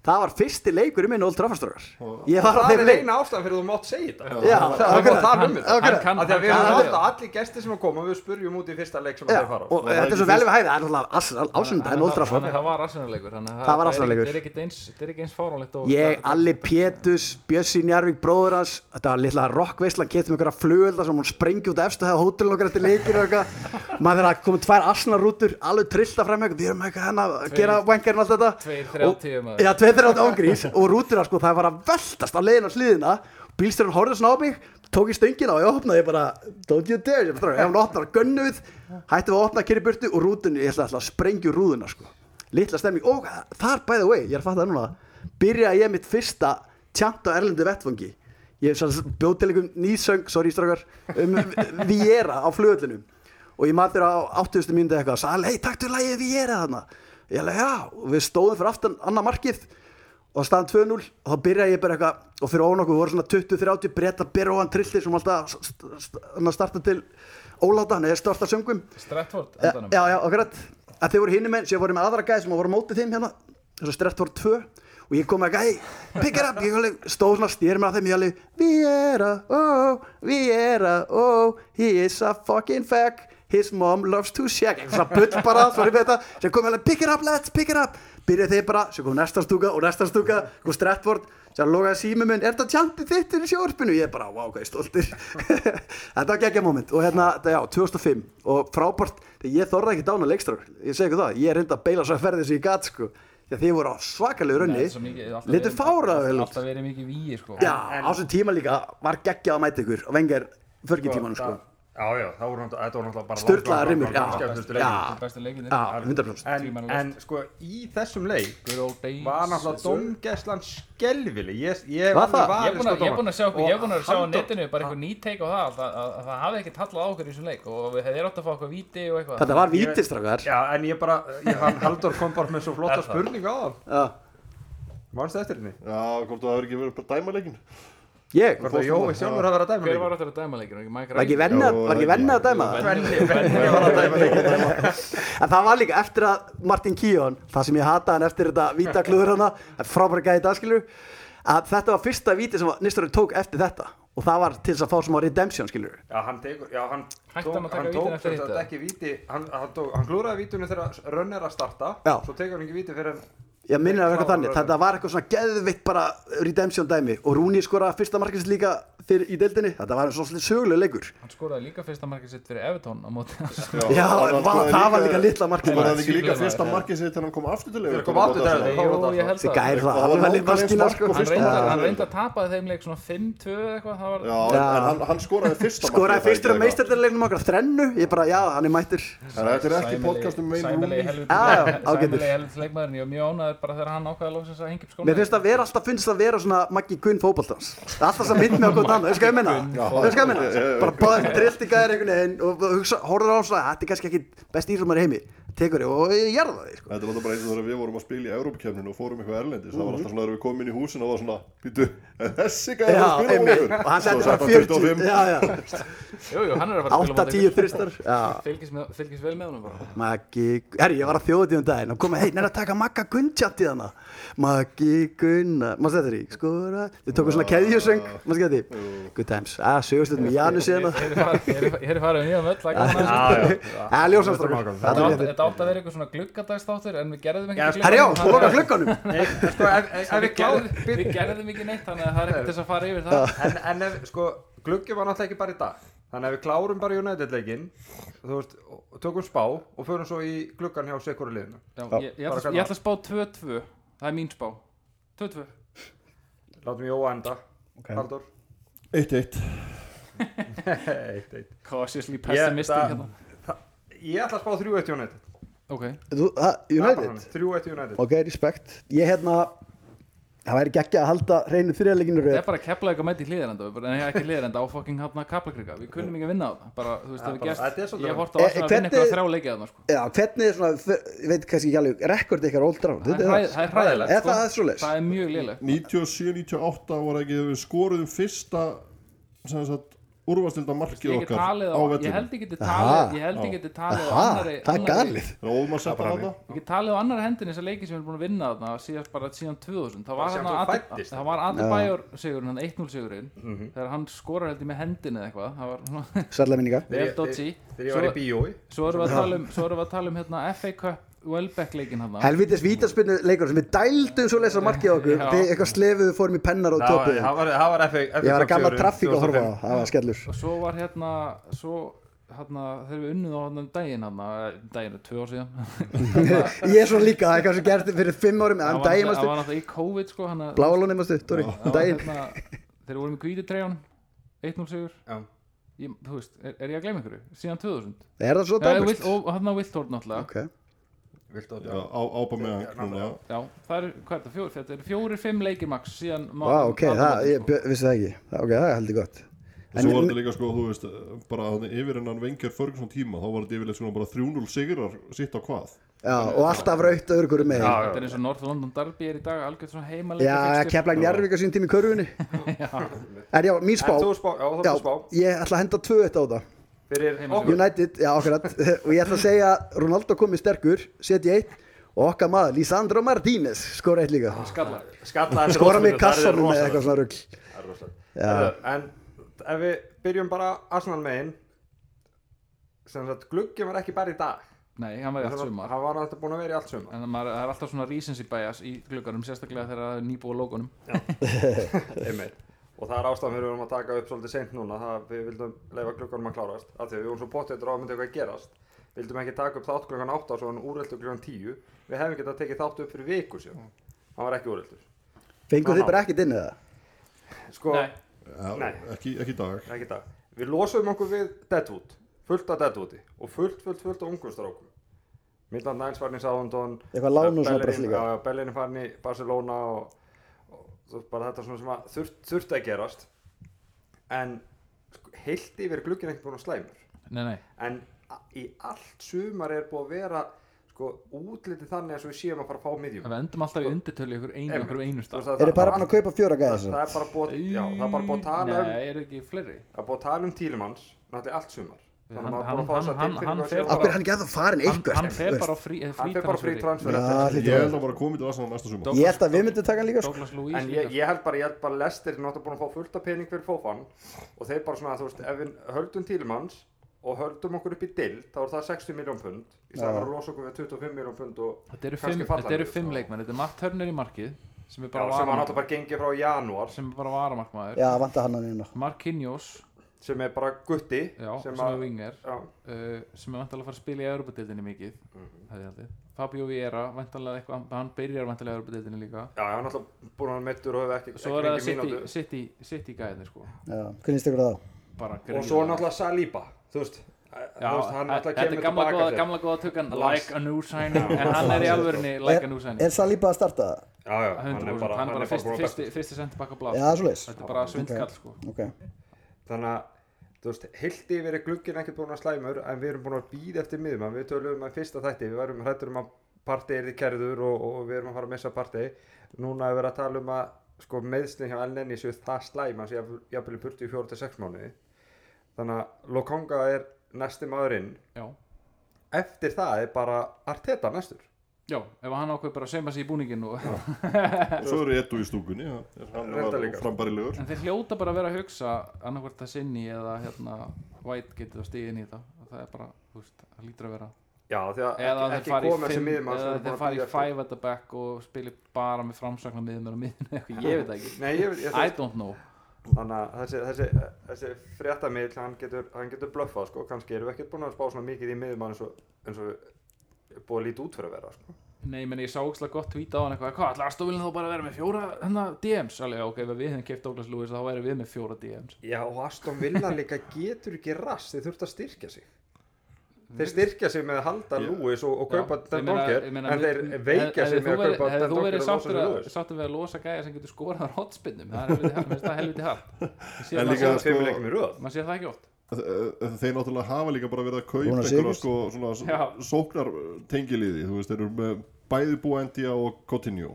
það var fyrsti leikur í minn Old Traffordstrókar ég var á Það þeim er leik eina ástæðan fyrir að þú mátt segja þetta já, Það er bara akkurat. það um þetta Akkurat. Hann kann- Af því að við hann erum kann- alltaf allir gestir sem að koma við spurjum út í fyrsta leik sem Já, þeir fara á og þetta er svo vel við hæði, það er alltaf ásönda en Old Trafford Þannig að það var arsenalegur þannig að Það var er ekki- Arsenalleikur. er ekkit eins- Þetta er ekki eins fáránlegt og- Ég, Alli Pétus, Bjössi Njarvík, bróður hans, þetta var litla rockveisla, getum einhverja flugölda sem hún sprengi út efstu þegar hótelin okkar eftir leikir og eitthvað. Maður þeirra komið tvær asnarútur, alveg trillta fram eitthvað, við erum eitthvað hérna að gera vengjarinn allt þetta. Tveir, þrjátíu, Og- maður. Já, tveir, þrjátíu ángrís [LAUGHS] og rúturna sko, það var að veltast á leiðin á sliðina. Bílstjórn horfði svona á mig, tók í stöngina og ég opnaði bara, don't you dare, ég bara, ef hún opnar gönnu við, hættum við að opna kyrri burtu og rútunni, ég ætla alltaf að sprengju rúðuna sko. Litla stemning, og þar by the way, ég er að fatta það núna, byrjaði ég mitt fyrsta tjant á erlendu vettfangi. Ég bjóð til einhverjum nýsöng, sorry strákar, um Viera á flugöllinum og ég maður þeirra á 80. mínuti eitthvað og sagði, hei, taktu lagið Viera þarna. Ég alveg, já, og við stóðum fyrir aftan annað markið og staðan 2-0 og þá byrjaði ég bara eitthvað og fyrir ofan okkur voru svona 20-30 breyta byrja ofan trillir sem alltaf st st st starta til óláta hann eða starta söngum Stratford já, endanum já, akkurat að þeir voru hinum eins, ég voru með aðra gæði sem voru á mótið þeim hérna þess að strett voru tvö og ég kom með gæði, pick it up ég alveg stóð svona stýr með að þeim ég alveg Viera, oh, Viera, oh he is a fucking fag his mom loves to shag eitthvað svona bull bara, sorry fyrir þetta sem kom alveg, pick it up lads, pick it up byrjaði þeir bara, sem kom næsta stúka og næsta stúka kom strett sem logaði sími minn, er þetta tjantið þitt hérna í sjórpinu? Ég bara, vá, hvað ég er stoltir [LAUGHS] Þetta var geggja moment og hérna, þetta, já, 2005 og frábært, þegar ég þorði ekki dána leikstrar ég segi ykkur það, ég reyndi að beila svo að ferði sem ég gat, sko, þegar þið voru á svakalegu Nei, raunni, svo mikið- alltaf litur verið- fára vel út, Alltaf verið mikið víi sko já, á þessum tíma líka var geggja að mæta ykkur, og vengar förgi tímanum, sko, Já, já, það voru náttúrulega, þetta voru náttúrulega bara Sturlaðar langt- langt- rimur, já. langt- langt skemmtilegustu leikir. Já. Bestu leikinir já, 100% En, Tvímenn en sko, í þessum leik Good old days var náttúrulega domgæslan skelvileg Ég, ég Var það? Ég er búinn að- ég er búinn að sjá okkur, ég er búinn að sjá á sko, Og Halldór- netinu bara eitthvað nýteik á það að, að, að það hafi ekkert hallað á okkur í þessum leik og við hefðir átt að fá eitthvað víti og eitthvað Þetta var vítistrakar Já, en ég bara, ég, [LAUGHS] hann Haldur kom bara með svo flotta Er það? spurningu á hann Ég, Mannstu eftir henni? Já, hvort þú hefur ekki verið bara að dæma leikin Hvort að Jói sjálfur að vera að dæma Hver var leikinn? áttur að dæma leikinu, ekki Mike var ekki Riley? venni að- Já, var ekki venni að dæma það? Benni, Benni var að dæma [LAUGHS] leikinn En það var líka eftir að Martin Kíón, það sem ég hata hann eftir þetta víta klúður hana, frábæra gæði dagskilur, að þetta var fyrsta víti sem Nistarur tók eftir þetta og það var til þess að fá smá redemption skilur. Já, hann tekur, já, hann Hætti tók, hann að taka hann vítin tók eftir sem sagt hitt, ekki víti Hann, hann, tók, hann glúraði vítunum þegar rönn er að starta Já. Svo tekur hann ekki víti fyrir hann ég minna það var eitthvað þannig, þetta var eitthvað svona geðvitt bara redemption dæmi og Rúni skora fyrsta markins líka fyrir í deildinni þetta var svona sögulega leikur Hann skoraði líka fyrsta markið sitt fyrir Everton á móti Já, Já, hann- vá, hann skoraði það var líka litla markið Var maður. það ekki líka Síðlega fyrsta maður. markið sér þegar hann kom aftur til Þegar hann kom aftur til Everton? Everton. Jú, ég held þessi að gæri það, Það var halva nákvæmlega litla eins skina mark sko. [LAUGHS] og Hann fyrsta reyndi mark. hann reyndi að tapa þeim leik svona 5-2 eða eitthvað það var Já, Já. en hann, hann skoraði fyrsta markið, skoraði það er fyrstur ekki að meistardarleiknum okkar þrennu, ég bara, já, hann er mættur eitthvað. En Þetta er ekki podcast um Wayne Sæmilegi Rooney helviti Já, já, ágætur. Sæmilegi helviti leikmaðurinn Ég var mjög ánæður bara þegar hann ákvaði loksins að hengja upp skóna Mér finnst það vera alltaf finnst það vera svona Maggi Gunn fótballtans Það er alltaf sem mynd með okkur annað, veist hvað ég menna Veist hvað ég menna, bara báðum trillt í gæðir einhvern veginn og og hugsa, horfður á svona Þetta er kannski ekki besti íslumar í heimi Tekur ég og ég jarða það sko. Þetta var það bara eins og þegar við vorum að spila í Európa-kefninu og fórum eitthvað erlendis, það var alltaf svona þegar við komum inn í húsin og var svona, býtu, er þessi gæði Mhm. Já, að spila á einmitt, okkur?" og hann setti Svo bara setti hann 40 Já, já, Jú, jú, hann er að fara að spila 8-10 þristar Já, Fylgis, með, fylgis vel með honum bara Maggi, herri ég var að þjóða tíum daginn og kom að hei, neina að taka Magga Gunntjátt í þarna Maggi uh, Gunna, maður stættir í, skora Þau tókum svona keðjusöng, maður stættir í Good times, að sögustuð með Janus hérna. í Ég- þarna ég er farið- Ég er- ég er farið um nýjan völl það er gaman að þessu. Ah, [LAUGHS] Já, ljósamstrákur, Þetta það Þetta er átti- réttir þetta átti að vera eitthvað svona gluggadagsþáttur en við gerðum ekki Já, gluggadag- Herri já, þú loka glöggunum sko, ef, ef, ef Við við gerðum- kláðum Við gerðum ekki neitt þannig að það er ekkert til þess að fara yfir það en, en ef, sko, gluggjum var náttúrulega ekki bara í dag þannig að ef við klárum bara United-leikin þú veist, og tökum spá og förum svo í gluggan hjá Sekuru liðinu Já, ég, ég, ætla, ég ætla að spá 2-2 Það er mín spá 2-2 látum Jóa enda, Haldur 1-1. eitt, eitt. Cautiously pessimistic pessimistic Ég- það- hérna ég ætla að spá 3-1 United Ok Þú- ha, Það er bara United? þannig, 3-1 United Ok, respekt Ég hérna Það væri geggja að halda reynu þriðarleikinu Það röð er bara að kepla eitthvað mæti í hlýðarenda En ekki hlýðarenda á fucking hafna kaplakrika Við kunnum ekki að vinna á það Bara, þú veist, Það það er við bara- þetta er gerst svolítið Ég þannig. horfði á Eh, að vinna hvernig- eitthvað þrjá leikið þarna sko. Já, hvernig er svona, ég veit kannski ekki alveg rekord ykkar Old Trafford Það er Þetta hræð- það er hræðilegt Er sko. það svoleiðis? Það er mjög liðlegt 97-98 voru ekki þegar við skoruðum fyrsta, sem sagt, úrvastilda markið Ég, get okkar talið á á, ég vettinu. held ég geti Aha. talið Ég held ég geti talið á Ha, annari það er annarri- galið Þegar Ómar sett hann þarna, Ég get talið á annari hendin þessar leiki sem við erum búin að vinna þarna síðast bara síðan 2000 það var, Síðan þarna þú Ade- fæddist. Mhm. það var Adebayor sigurinn, hann 1-0 sigurinn þegar hann skorar heldur með hendin eða eitthvað það var [LAUGHS] svona Særlega minninga vel dodgy þegar ég var í bíói svo erum við að tala um, svo erum við að tala um hérna, FA Cup Welbeck leikinn hann Helvitis vítaspinnu leikur sem við dældum svo lesa markið á okkur Já. Þið eitthvað slefuðu fórum í pennar og það var- töpuðu það var það var FA Ég var að gamla traffík að horfa á það, það var skellur og svo var hérna svo hérna þegar við unnið á hann um daginn hann daginn er tvö ár síðan Um Ég er svona líka, það er kannski gert fyrir fimm árum [LAUGHS] eða það um var daginn náttúrulega- það mástu var náttúrulega í COVID sko hann að- Bláalóni mástu, Dóri, um það var daginn hérna þegar við vorum í kvítitreján 1-0 sigur Já. ég, þú veist, er, er ég að gleyma ykkur síðan 2000 Er það svo Já, ég vill, dæmist? og hann á Wiltord náttúrulega Ok, já, á, ápa með hann núna, já. Já, það er, hvað er þetta, fjóri, þetta er fjóri, fimm leikir max síðan má- Vá, ok, má- það, ég bu- vissi það ekki Það- Ok, það er heldur gott Og svo var þetta líka sko, þú veist, bara þannig yfir hennan Wenger Ferguson tíma, þá var þetta yfirleitt svona bara 3-0 sigrar sitt á hvað. Já, og alltaf raut öðru hverju með Þetta er eins og North London Derby er í dag algjörð svona heimaleika Já, fixture. keflaðin Jarvik á sín tími í [LAUGHS] körfunni En já, mín spá en þú spá, já þú Já, ert að spá ég ætla að henda 2-1 á það fyrir Heimaleik. okkur United, já akkurat [LAUGHS] og ég ætla að segja Ronaldo komið sterkur setja eitt og okkar maður Lisandro Martínez skora eitt líka Skalla skalla þessi skora rosamyndir, það mig í er kassanum eða rosalegt. eitthvað svona rugl Það er rosalegt. Já. Herðu, en ef við byrjum bara Arsenal megin sem sagt gluggjum var ekki bara í dag Nei, hann var í allt hann sumar hann var alltaf búin að vera í allt sumar En maður, það er alltaf svona recency bias í glugganum sérstaklega þegar það er nýbúið á logonum Einmitt. og það er ástæðan fyrir við erum að taka upp svolítið seint núna það við vildum leifa glugganum að klárast af því að við vorum svo pottetur á að myndi eitthvað gerast vildum ekki taka upp þátt gluggan 8 og svo hann úreldu gluggan 10 við hefum getað tekið þátt upp fyrir viku sér hann var ekki úreldur Aha. fengur þið bara ekkert inn eða? sko, Nei, Já, Nei. ekki, ekki í dag. ekki það við losum okkur við Deadwood fullt af Deadwoodi og fullt, fullt, fullt af ungum strákum Midland Niles var í Southampton Eitthvað lán og svona Bellerín- brasl líka. já, já, Bellerín farin í Barcelona og, og, og bara þetta svona sem að þurft, þurfti að gerast en sko, heilt yfir er glugginn ekki búin að slæmur nei, nei en a- í allt sumar er búið að vera sko, útlitið þannig að við séum að fara að fá miðjum En Við endum alltaf í undirtölu ykkur einu, Einmitt. ykkur Þú einu veist stað að eru það- bara búin að kaupa fjóra gæða það, þess það er bara búið, já, það er bara búið að tala um Nei, eru ekki fleiri Það er búið að tala um Tílimanns náttúrulega allt sumar Þannig að Hann- maður er búin að fá hann- þess að hann- hann tilfinningu að fer sjá af hverju er hann ekki að það farin Hann, eitthvað hann fer bara á frí, eh, Hann fer bara frí transfer frítransferi. Já, eftir hlýtur Ég að held vera. að bara komið til Arsenal næsta sumar. ég held að við myndum taka hann líka sko. Douglas Lewis En líka, ég, ég held bara, ég held bara lestir er náttúrulega búin að fá fullt af pening fyrir fófan og þeir bara svona, þú veist, ef við höldum Tílimanns og höldum okkur upp í dild þá er það 60 miljón pund í staðan Já. að rosa okkur við 25 miljón pund og Þetta eru kannski fimm, falla þetta eru niður, fimm sko. leikmenn, þetta er Matt Turner í markið sem er Já, sem var bara náttúrulega varamarkmaður- bara gengið frá janúar sem er bara varamarkmaður Já, vanta hann að nýna Marquinhos, sem er bara gutti já, sem, að- er winger já, uh, sem er vantalega að fara að spila í Europadeildinni mikið Mhm. hefði ég haldið Fabio Vieira, vantalega eitthvað, hann byrjar vantalega í Europadeildinni líka já, hann er náttúrulega búin að vera meittur og hefur ekki, Svo ekki er það fengið City, mínútu City, City gæðinni sko Já, hvernig styrir það á? bara og svo gríðarlega. náttúrulega Saliba þú veist, eh, Já, eh, e- þú veist hann þetta náttúrulega er kemur gamla tilbaka góða, til- gamla góða tökkan Last- like a [LAUGHS] new signing en hann er í alvörinni like a new signing Er Saliba að starta það? já, já, 100% hann er bara, hann er bara fyrsti, búinn að fyrsti, besta. fyrsti sendibakka Já, blad það er svoleiðis þetta er bara svindkall sko Ok, þannig að þú veist, hildi yfir er glugginn ekkert búin að slæmur en við erum búin að býða eftir miðum við tölum að fyrsta þætti, við varum hrættur um að partey er því kerður og, og við erum að fara að missa partey núna er verið að tala um að sko meðsni hjá LNN séu það slæma sem jafn- jafnvel er burtu í fjóra til sex mánuði þannig að Lokonga er næsti maðurinn já. eftir það er bara Arteta næstur já, ef hann ákveð bara að seima sig í búningin og, og svo eru Edu í stúkunni já, er hann Reyndar var líka. frambærilegur en þeir hljóta bara að vera að hugsa annarkvært að sinni eða hérna White getur að stiga inn í þetta það er bara, þú veist, það lítur að vera já, því að eða ekki, þeir ekki fara í koma þessi fimm miðum eða þeir fara í five at the back og spili bara með framsakna miðum og miðum eitthvað, ég veit það ekki Nei, ég, ég, I don't know þannig að þessi, þessi, þessi fréttamiðl hann getur, hann getur blöffað sko, kannski erum við ekkert búin að spá svona mikið í miðjumann eins og, eins og við er búið að líta út fyrir að vera sko. Nei, menn ég sá ógslag gott tweet á hann eitthvað Hvað, allar stofilin þá bara að vera með fjóra hennar DMs Alveg, já, ok, ef við hefum keift Douglas Lewis þá væri við með fjóra DMs já og Aston Villa líka getur ekki rast þeir þurft að styrkja sig þeir styrkja sig með að halda Já. Lewis og, og Já, kaupa ég Den meina- Donker ég en meina, þeir mið- veikja hefði sig þú með að verið- kaupa Hefði Den þú Donker og verið sáttur Lawson að, Lewis sáttur við að losa gæja sem getur skorað á hotspinnum Það er helviti hart, mér finnst það helviti [LAUGHS] hart En það líka, er sko- tveimur leikum í röð Man sé það ekki oft Þe- þeir náttúrulega hafa líka bara verið að kaupa Rúnar einhverja Sigurðs. sko, svona s- Já. sóknar tengiliði þú veist, þeir eru með bæði Buendia og Coutinho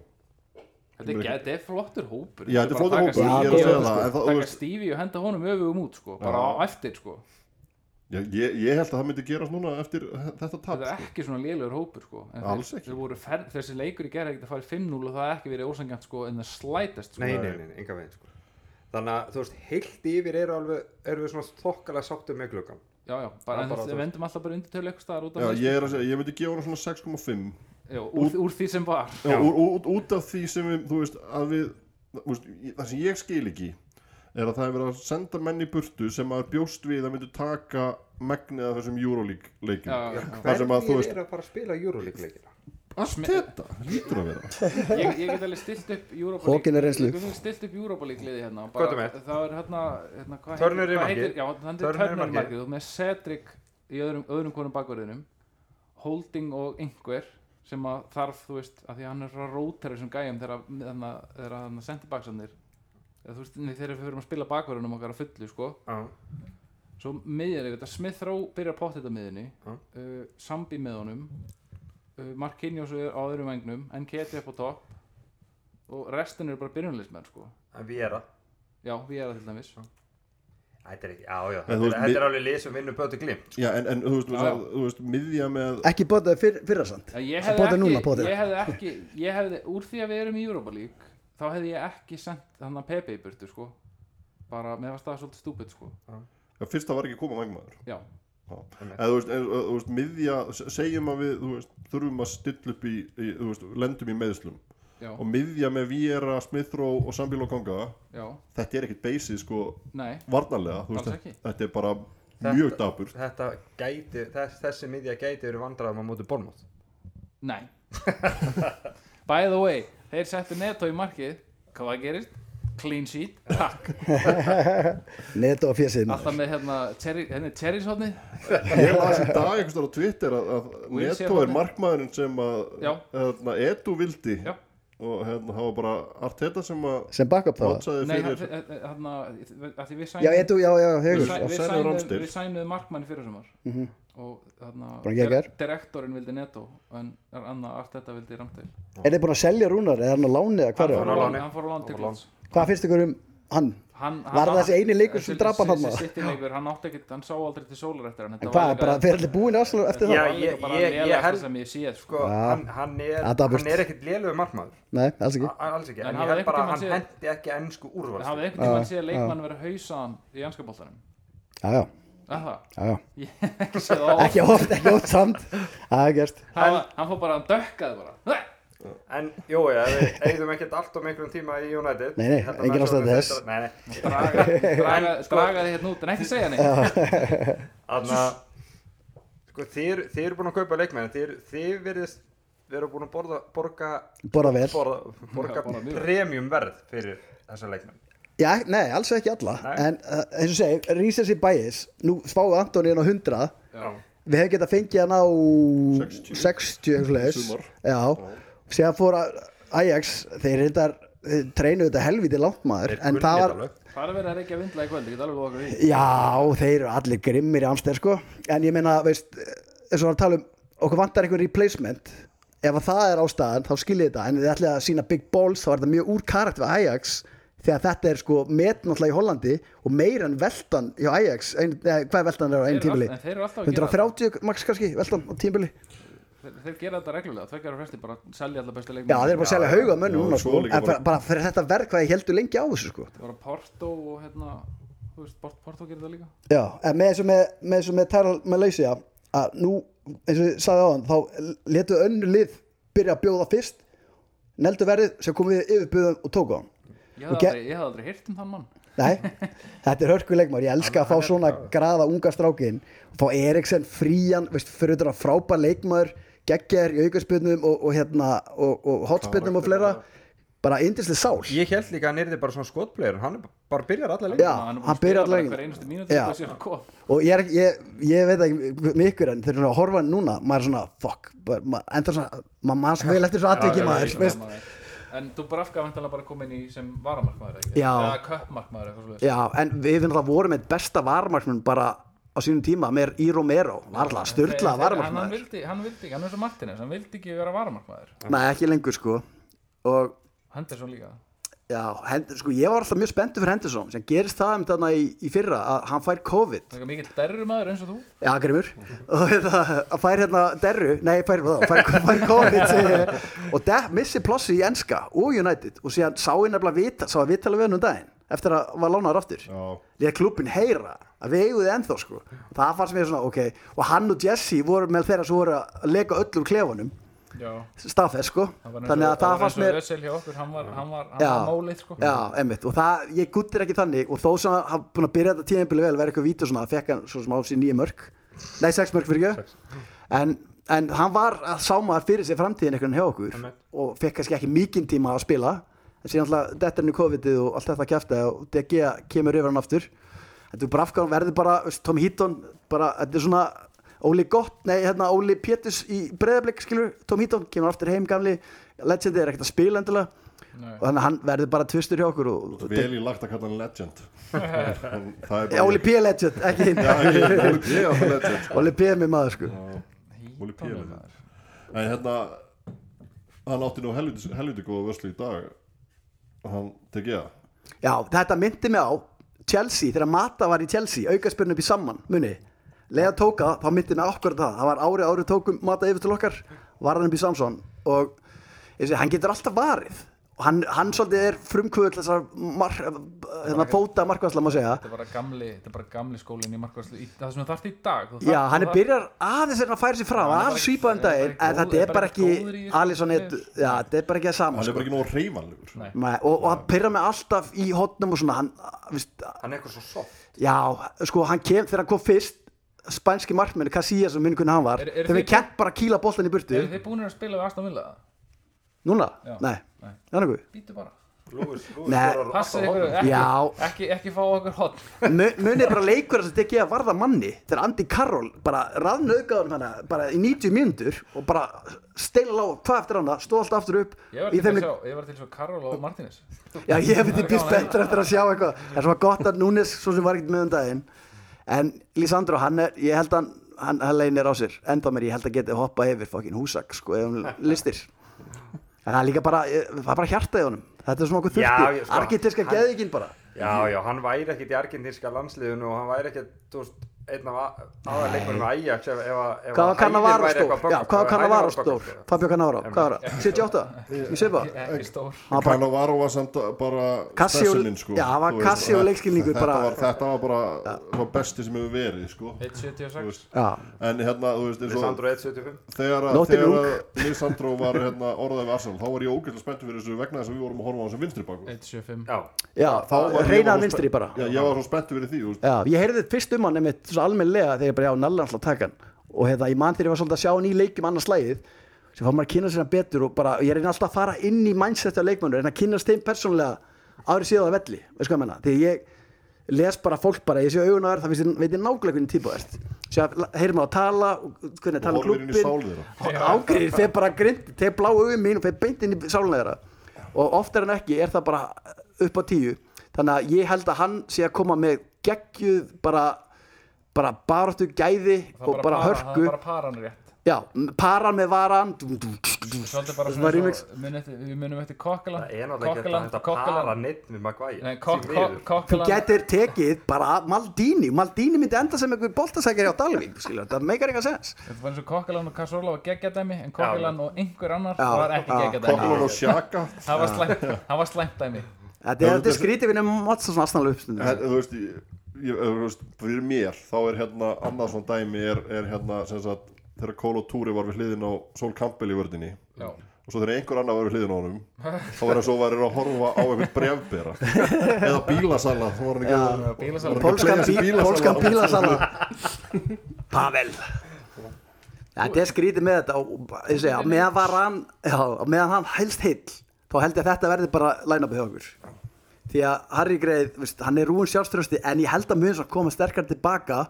Þetta er, ge- þetta er flottur hópur já, þetta er flóta bara hópur, taka ég er Steve- Stevie- að segja það en það, þú Taka veist, Stevie og henda honum öfugum út, sko Bara á eftir, sko já, ég, ég held að það myndi gerast núna eftir þetta tap Þetta er sko. ekki svona lélegur hópur sko En þeir- Alls ekki. þeir voru fer- Þessi leikur í gerð ekkert að fara í 5-0 og það er ekki verið ósangjant sko en það slætast sko nei, nei, nei, nei, enga veginn sko. þannig að þú veist, heilt yfir eru, alveg, eru við svona þokkalega sáttum með gluggan Já, já, bara, Já, bara en bara þú við veist. vendum alltaf bara undir tölu eitthvað staðar út af já, þessu. ég er að segja, ég myndi gefa hana svona 6,5 já, úr, úr því sem var Já, ú- ú- út, út af því sem við, þú veist, að við, þú veist, ég- það sem ég skil ekki er að það er verið að senda menn í burtu sem maður bjóst við að myndu taka megnið af þessum Euroleague leikjum. Já, já, já. Það sem að, þú hvernig veist, eru að fara að spila Euroleague leikina allt þetta lítur að vera. ég, ég get alveg stilt upp Europa Hókin er reynslu. Ég get alveg stilt upp Europa League liði hérna Hvað ertu með? Það er hérna, hérna hvað Turner í hvað marki. Já, þannig Turner í er Turner marki. í markið Þú ert með Cedric í öðrum, öðrum konum bakverðinum Holding og einhver sem að þarf, þú veist, að því að hann er að rótera þessum gæjum þegar að- þarna- þegar að sendibaksarnir eða þú veist, nei, þegar við fyrir að spila bakverðunum okkar að fullu, sko Já. Svo miðjar þetta, Smith Rowe byrjar pott þetta miðinni Já. uh, Sambi með honum uh, Marquinhos er á öðrum vengnum Nketi upp á topp og restin eru bara byrjunleismenn sko en við erum Já, við erum til dæmis Þetta er ekki, já, já, En þú þetta er, veist, þetta er alveg lið sem vinnur bötu glimt. Já, en, en þú veist, þú Já, já. veist, þú veist, miðja með, ekki bótaði fyr, fyrrasand Já, Ég Svo hefði potið ekki, núna, potið. ég hefði ekki ég hefði, úr því að við erum í Europa League þá hefði ég ekki sendt hann að Pepe í burtu sko bara, mér varst það svolítið stúpid sko já, fyrst það var ekki að koma megnmaður. Já, En þú veist, en, þú veist, miðja, se- segjum að við, þú veist, þurfum að stilla upp í, í, þú veist, lendum í meðslum. já, Og miðja með Viera, Smithrow og Sambíl og Konga, já, þetta er ekkit basið, sko, nei varnarlega þú Alls veist, ekki. þetta er bara Þetta- mjög dapur Þetta gæti, þess, þessi miðja gæti verið vandræðum á móti Bormóð. Nei [LAUGHS] By the way, þeir settu Neto í markið Hvað gerist? Clean sheet, takk Neto og fjesið maður. Alltaf með hérna Cherry, hérna Cherry sotni ég las í dag einhvers þar á Twitter að, að Will sé Neto er þarna. markmaðurinn sem að Já. hérna, Edu vildi Já. og hérna, það var bara Arteta sem að sem backup þá hotsaði Nei, hann- fyrir hérna að því við Já, sænum Edu, já, já, við, Haugur sæ, Og við, Særðu sænum, Ramsdale. við sænuðu markmanni fyrir sumar -hmm. og Mhm. Bara þarna geggar. direktorinn vildi Neto en er annað allt þetta vildi Ramdæl Er þið búin að selja Rúnar eða er hann á láni eða hvar er Hann hann? á láni. hann fór á lán til Hann fór á lán. Klans Hvað finnst ykkur um hann? hann, Var það þessi eini leikur sem drap hann þarna? leikur, hann átti ekkert, hann sá aldrei til sólar eftir hann En hvað, er bara fyrir allir búin afslu eftir Já, það? ég, ég, ég- ég, ég ég held- sem ég séð sko. Sko, hann, hann er, Það er dapurt. hann er ekkit liðlegu markmaður, Nei, alls ekki A- alls ekki, En en hafði ég held einhvern bara að tímann hann séð- hendi ekki ennsku hafði úrvalst. einhvern tímann séð leikmann vera hausaðan í anskapoltanum Já, já [LAUGHS] að það, já, já. ég hef ekki séð það áður. ekki oft, ekki oft samt það er gerst hann, var- hann fór bara að dökkaði bara En jú, já, við eigðum ekkert allt og miklum tíma í United Nei, nei, Þetta engin menn svo- ástæða til þess. Nei, nei, draga, [LAUGHS] Sko- draga, dragaði hérna út en ekki segja neitt þannig að sko, þið, þið eru búin að kaupa leikmenn Þið, eru- þið verðist vera búin að borða, borga, borða vel borða, borga borða mjög. premium verð fyrir þessa leikmenn já, nei, alls ekki alla Nei. en uh, eins og segi, recency bias nú spáði Antoni hérna á 100 Já, við hefum getað fengið hann á 60. 60 eitthvað leiðis. Sumar. já, síðan fór að Ajax, þeir reyndar þeir treinuðu þetta helviti langt maður en það var, það er verið að reykja vindla í kvöld, ég get alveg lofa okkur í Já, þeir eru allir grimmir í amstæð sko. en ég meina, veist eins og hann tala um, okkur vantar einhver replacement ef að það er ástæðan, þá skiljið þetta en þið ætlaði að sína big balls, þá er þetta mjög úr karakter við Ajax, þegar þetta er sko met náttúrulega í Hollandi og meira en veltan hjá Ajax, ein, eða, hvað er veltan er á einu Þeir eru tímbili? all- en þeir eru alltaf að gera 130 max kannski, veltan á tímbili þeir, þeir gera þetta reglulega, þeir gera fresti bara að selja alla Já, bestu leikmenn þeir eru bara að selja já, hauga já, mönnum núna svo sko, líka en bara- bara, bara fyrir þetta verk hvað ég heldur lengi á þessu sko Það var Porto og hérna þú veist, Port- Porto gerir það líka Já, en með þessu með, með, þessu með Tyrell Malaysia að nú, eins og ég sagði á hann þá letu önnu lið byrja að bjóða fyrst neldu verðið sem kom við yfirbjóðum og tók á hann Ég Og hafði ge- aldrei, ég hafði aldrei hýrt um þann mann Nei, [LAUGHS] þetta er hörkuleikmar, ég elska að fá svona graða unga strákin fá Eriksen frían, veist, fyrir þetta frábær leikmar geggjær í aukarspyrnum og, og hérna, og, og hotspyrnum og fleira bara yndislega sál Ég held líka að hann er þið bara svona skotplegur Hann er bara byrjar alla leikmenn Já, er búinn hann byrja að spila bara allavega hver einustu Já. mínúti og ég, er ekki- ég, ég veit ekki með ykkur en þegar að horfa núna, maður er svona fuck, bara- maður endur svona maður mann svo vel eftir svo atviki maður veist. En Dubravka vantanlega bara kom inn í sem varamarkmaður ekki? Já. Eða köppmarkmaður eitthvað svolítið Já, en við finnum það vorum eitt besta varmarsmun bara á sínum tíma með í Romero, var alltaf styrlað hann, hann, varmarsmaður vildi, hann vildi ekki, hann er svo Martínez Hann vildi ekki vera varamarkmaður Nei, ekki lengur sko og Henderson líka já, hend, sko, ég var alltaf mjög spenntur fyrir Henderson sem gerist það um þarna í, í fyrra að hann fær COVID Það er mikill derrumaður eins og þú Já, grimur og hérna, að fær hérna derru, nei, fær, fær, fær COVID segi ég. og der, missi plossi í enska og United og síðan sá ég nefnilega vita, sá að vitala við hann um daginn eftir að var lánaður aftur Já. Létt klubbin heyra að við eigum þið ennþá sko það fannst mér svona, ok og hann og Jesse voru með þeirra sem voru að leka öllum klefanum, Já staðfest sko þannig að það Það var fannst mér eins og Ösel hjá okkur, hann var, hann var, hann Já. var mólið sko Já, emmitt, og það, ég guttir ekki þannig og þó sem hann hafði búin að byrja þetta tíðanbili vel verið eitthvað víta og svona, það fekk hann svo sem á sér nýja mörg nei, sex mörg fyrir ekki en, en hann var að sá maður fyrir sér framtíðin einhvern hjá okkur Einmitt. og fekk kannski ekki mikinn tíma að spila en síðan alltaf, þetta er nú COVID-ið og allt þetta kæfti og DG kemur yfir hann aftur en þú brafkan verður bara, veist, Tom Heaton bara, þetta er svona Óli Gott, nei, hérna Óli Pétus í breyðablik, skilur, Tom Heaton kemur aftur heim gamli, legendi er ekkert að spila endilega Nei. og þannig að hann verður bara tvistur hjá okkur og, og Vel í lagt að kalla hann legend En það er Já, Óli P. Legend, ekki hinn Já, ég- Óli P. er alltaf legend Óli P. er mér maður sko Óli P. er legend En hérna Hann átti nú helviti, helviti góða vörslu í dag Hann tekið það Já, þetta myndi mig á Chelsea, þegar Mata var í Chelsea aukaspyrnu upp í saman, muni Lega tóka, þá myndi mig okkur það það var árið árið tókum Mata yfir til okkar varðan upp í Samson og ég segi, hann getur alltaf varið og hann, hann svolítið er frumkvöld þessar mar, hérna, fóta markvæsla má segja Þetta er bara gamli, þetta er bara gamli skólinn í markværslu í- Það sem þú þarft í dag þú Já, þarft- hann þú er þarft- byrjar aðeins er að færa sér fram Hann er bara aðeins ekki- svípa um hann er bara daginn ekki góður- en þetta er bara ekki góður í þessu. Alisson er- já, þetta er bara ekki að sama Hann er sko. bara ekki nóg reyfanlegur Nei. Nei, og, og hann pyrra mig alltaf í hotnum og svona hann, viðst, Hann er eitthvað svo soft já, sko hann kem þegar hann kom fyrst spænski markmenni, Casillas og minn hvernig hann var Eru- eru þegar þið við kent bara að kýla boltan í burtu Eru þið búinir að spila við Aston Villa? núna, Já. nei, Nei. það er nokkuð Býtu bara Lúis, Lúis Nei. skorar [LAUGHS] alltaf Passið ykkur horn. ekki, Já. ekki, ekki fá okkur hot Mu- munið bara leikur sem tekið að varða manni þegar Andy Carroll bara raðnaukaður hana bara í 90 mínútur og bara steila lág hvað eftir hana, stóð alltaf aftur upp Ég var til í þeim að leik- sjá, ég var til að sjá Karol og Martínez Já, ég hef Það þetta er býst gaman að betur eftir að sjá eitthvað Það er svona gott að Núnes svo sem var ekkert með um daginn En Lísandro, hann er, ég held hann hann, hann leynir á sér, enda mér ég held að geti hoppa yfir fokkin húsak, sko, ef hann listir En það er líka bara ég- það er bara hjartað í honum, þetta er svona okkur Já, þurfti ég- sko, Arkitekska hann- geðikinn bara Já, já, hann væri ekkert í argentinska landsliðinu og hann væri ekkert, þú veist, einn af aðaleikunum með Ajax ef, ef, að- ef Hvað var að Ægir Cannavaro væri stór? eitthvað bögg, Já, hvað var ef Ægir Cannavaro væri stór? bögg, sko. Fabio Cannavaro, hvað var það? 78? Í svipa? ekki stór Hann var bara Kano Varo var samt bara Kassi og- spessunin sko já, hann var þú veist, Kassi og þetta- leikskilningur þetta bara- var, Þetta var bara það besti sem hefur verið sko Þú 176 veist, Já, En hérna, þú veist, eins og Lisandro 175 þegar, að- Nóttin þegar að Lisandro var hérna, orðaði við Arsenal þá var ég ógætlega spenntur fyrir þessu vegna þess að við vorum að horfa á hans vinstri baku 175 Já, já, Þá var ég reynaðan bara- vinstri bara Já, ég var svo spenntur fyrir því, þú veist Já, ég heyrði fyrst um hann einmitt svo almennlega þegar ég bara já, nallan alltaf taka hann og hérna, ég man þegar ég var svolítið að sjá hann í leikjum annars slæðið sem fór maður að kynna sér hann betur og bara, ég reyna alltaf að fara inn í mindset af leikmönnur, reyna að kynast þeim persónulega árið síðan að velli, veist hvað ég menna þegar ég les bara fólk bara, ég sé augun á þér þá finnst ég- veit ég nákvæmlega hvernig típa þú ert svo að heyrir maður að tala og hvernig að tala um horfir inn í sál klubin þeirra. ágriðir, þeir bara grind þeir blá augum mín og þeir beint inn í sálunlegra og oftar en ekki er það bara upp á tíu þannig að ég held að hann sé að koma með geggjuð bara bara baráttu gæði Það er og bara para- það hörku er bara paran rétt já, paran með varan dú, dú, dú, dú. svolítið bara Þessi svona var eins remix. og munið eftir- við munum eftir kokkala það er náttúrulega ekki hægt að para neitt með Maguire Nei, kok- kok- þú kokkala getur tekið bara Maldini Maldini myndi enda sem einhver boltasækjari á Dalvík skilur, það meikar eitthvað sens Þetta var eins og Kokkalan og Kassorla var geggjadæmi en Kokkalan og einhver annar Já, var ekki já. geggjadæmi Kokkulan og Sjaka Það var slæmt, það var slæmt dæmi þetta er, þetta er skrítið við nefnum matta svona aðstæðanlega En, uppstundum þú veist, ég, ég, þú veist, fyrir mér þá er hérna annað svona dæmi er, er hérna sem sagt þegar Kolo Túri var við hliðin á Sol Campbell í vördinni Já. og svo þegar einhver annar var við hliðin á honum þá var það svo varir að horfa á einhvern brefbera eða bílasala þá var hann ekki að Bílasala Pólskan, Play- bí, bílasala. pólskan bílasala Pavel Þetta er skrítið með þetta og og- ég segja, á meðan var hann já, á meðan hann helst heill þá held ég að þetta verði bara lænabið hjá okkur því að Harry Greið, veist, hann er rúin sjálfströsti en ég held að mun svo koma sterkar tilbaka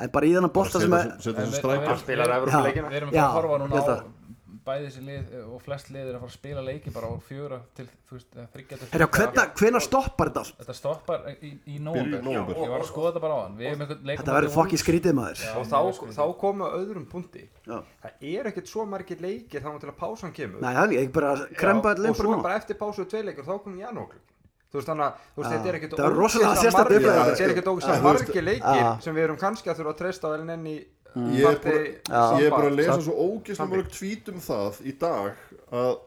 en bara í þennan bolta sem er setja þessu Við- strækir Hann spilar Evrópuleikina Við erum bara Já, að horfa núna á ég held bæði þessi lið eh, og flest lið er að fara að spila leiki bara á fjögra til þú veist, eh, þriggja til Herra, fjögurra. hvenna, hvenna stoppar þetta allt? Þetta stoppar í, í nóvember nóvember. Ég var að skoða þetta bara á hann Við erum einhvern leikum Þetta verður fokkin skrítið maður og þá, þá komum við að öðrum punkti Já. það er ekkert svo margir leikir þá til að pásan kemur Nei, hann, ég bara kremba Já, allir og svo bara núna bara eftir pásu og tveileikur þá komum janúarklukkin þú veist þannig að þú veist, Já. þetta er ekkert Þetta var ógeðslega rosalega sérstakt margir- upplifun. þetta er ekkert Já, ógislega þú veist, margir leikir já. sem við erum kannski að þurfa að treysta á en enn í Mm. uh, Mm. Ég er búin að- ég er bara að lesa svo ógeðslega mörg tweet um það í dag að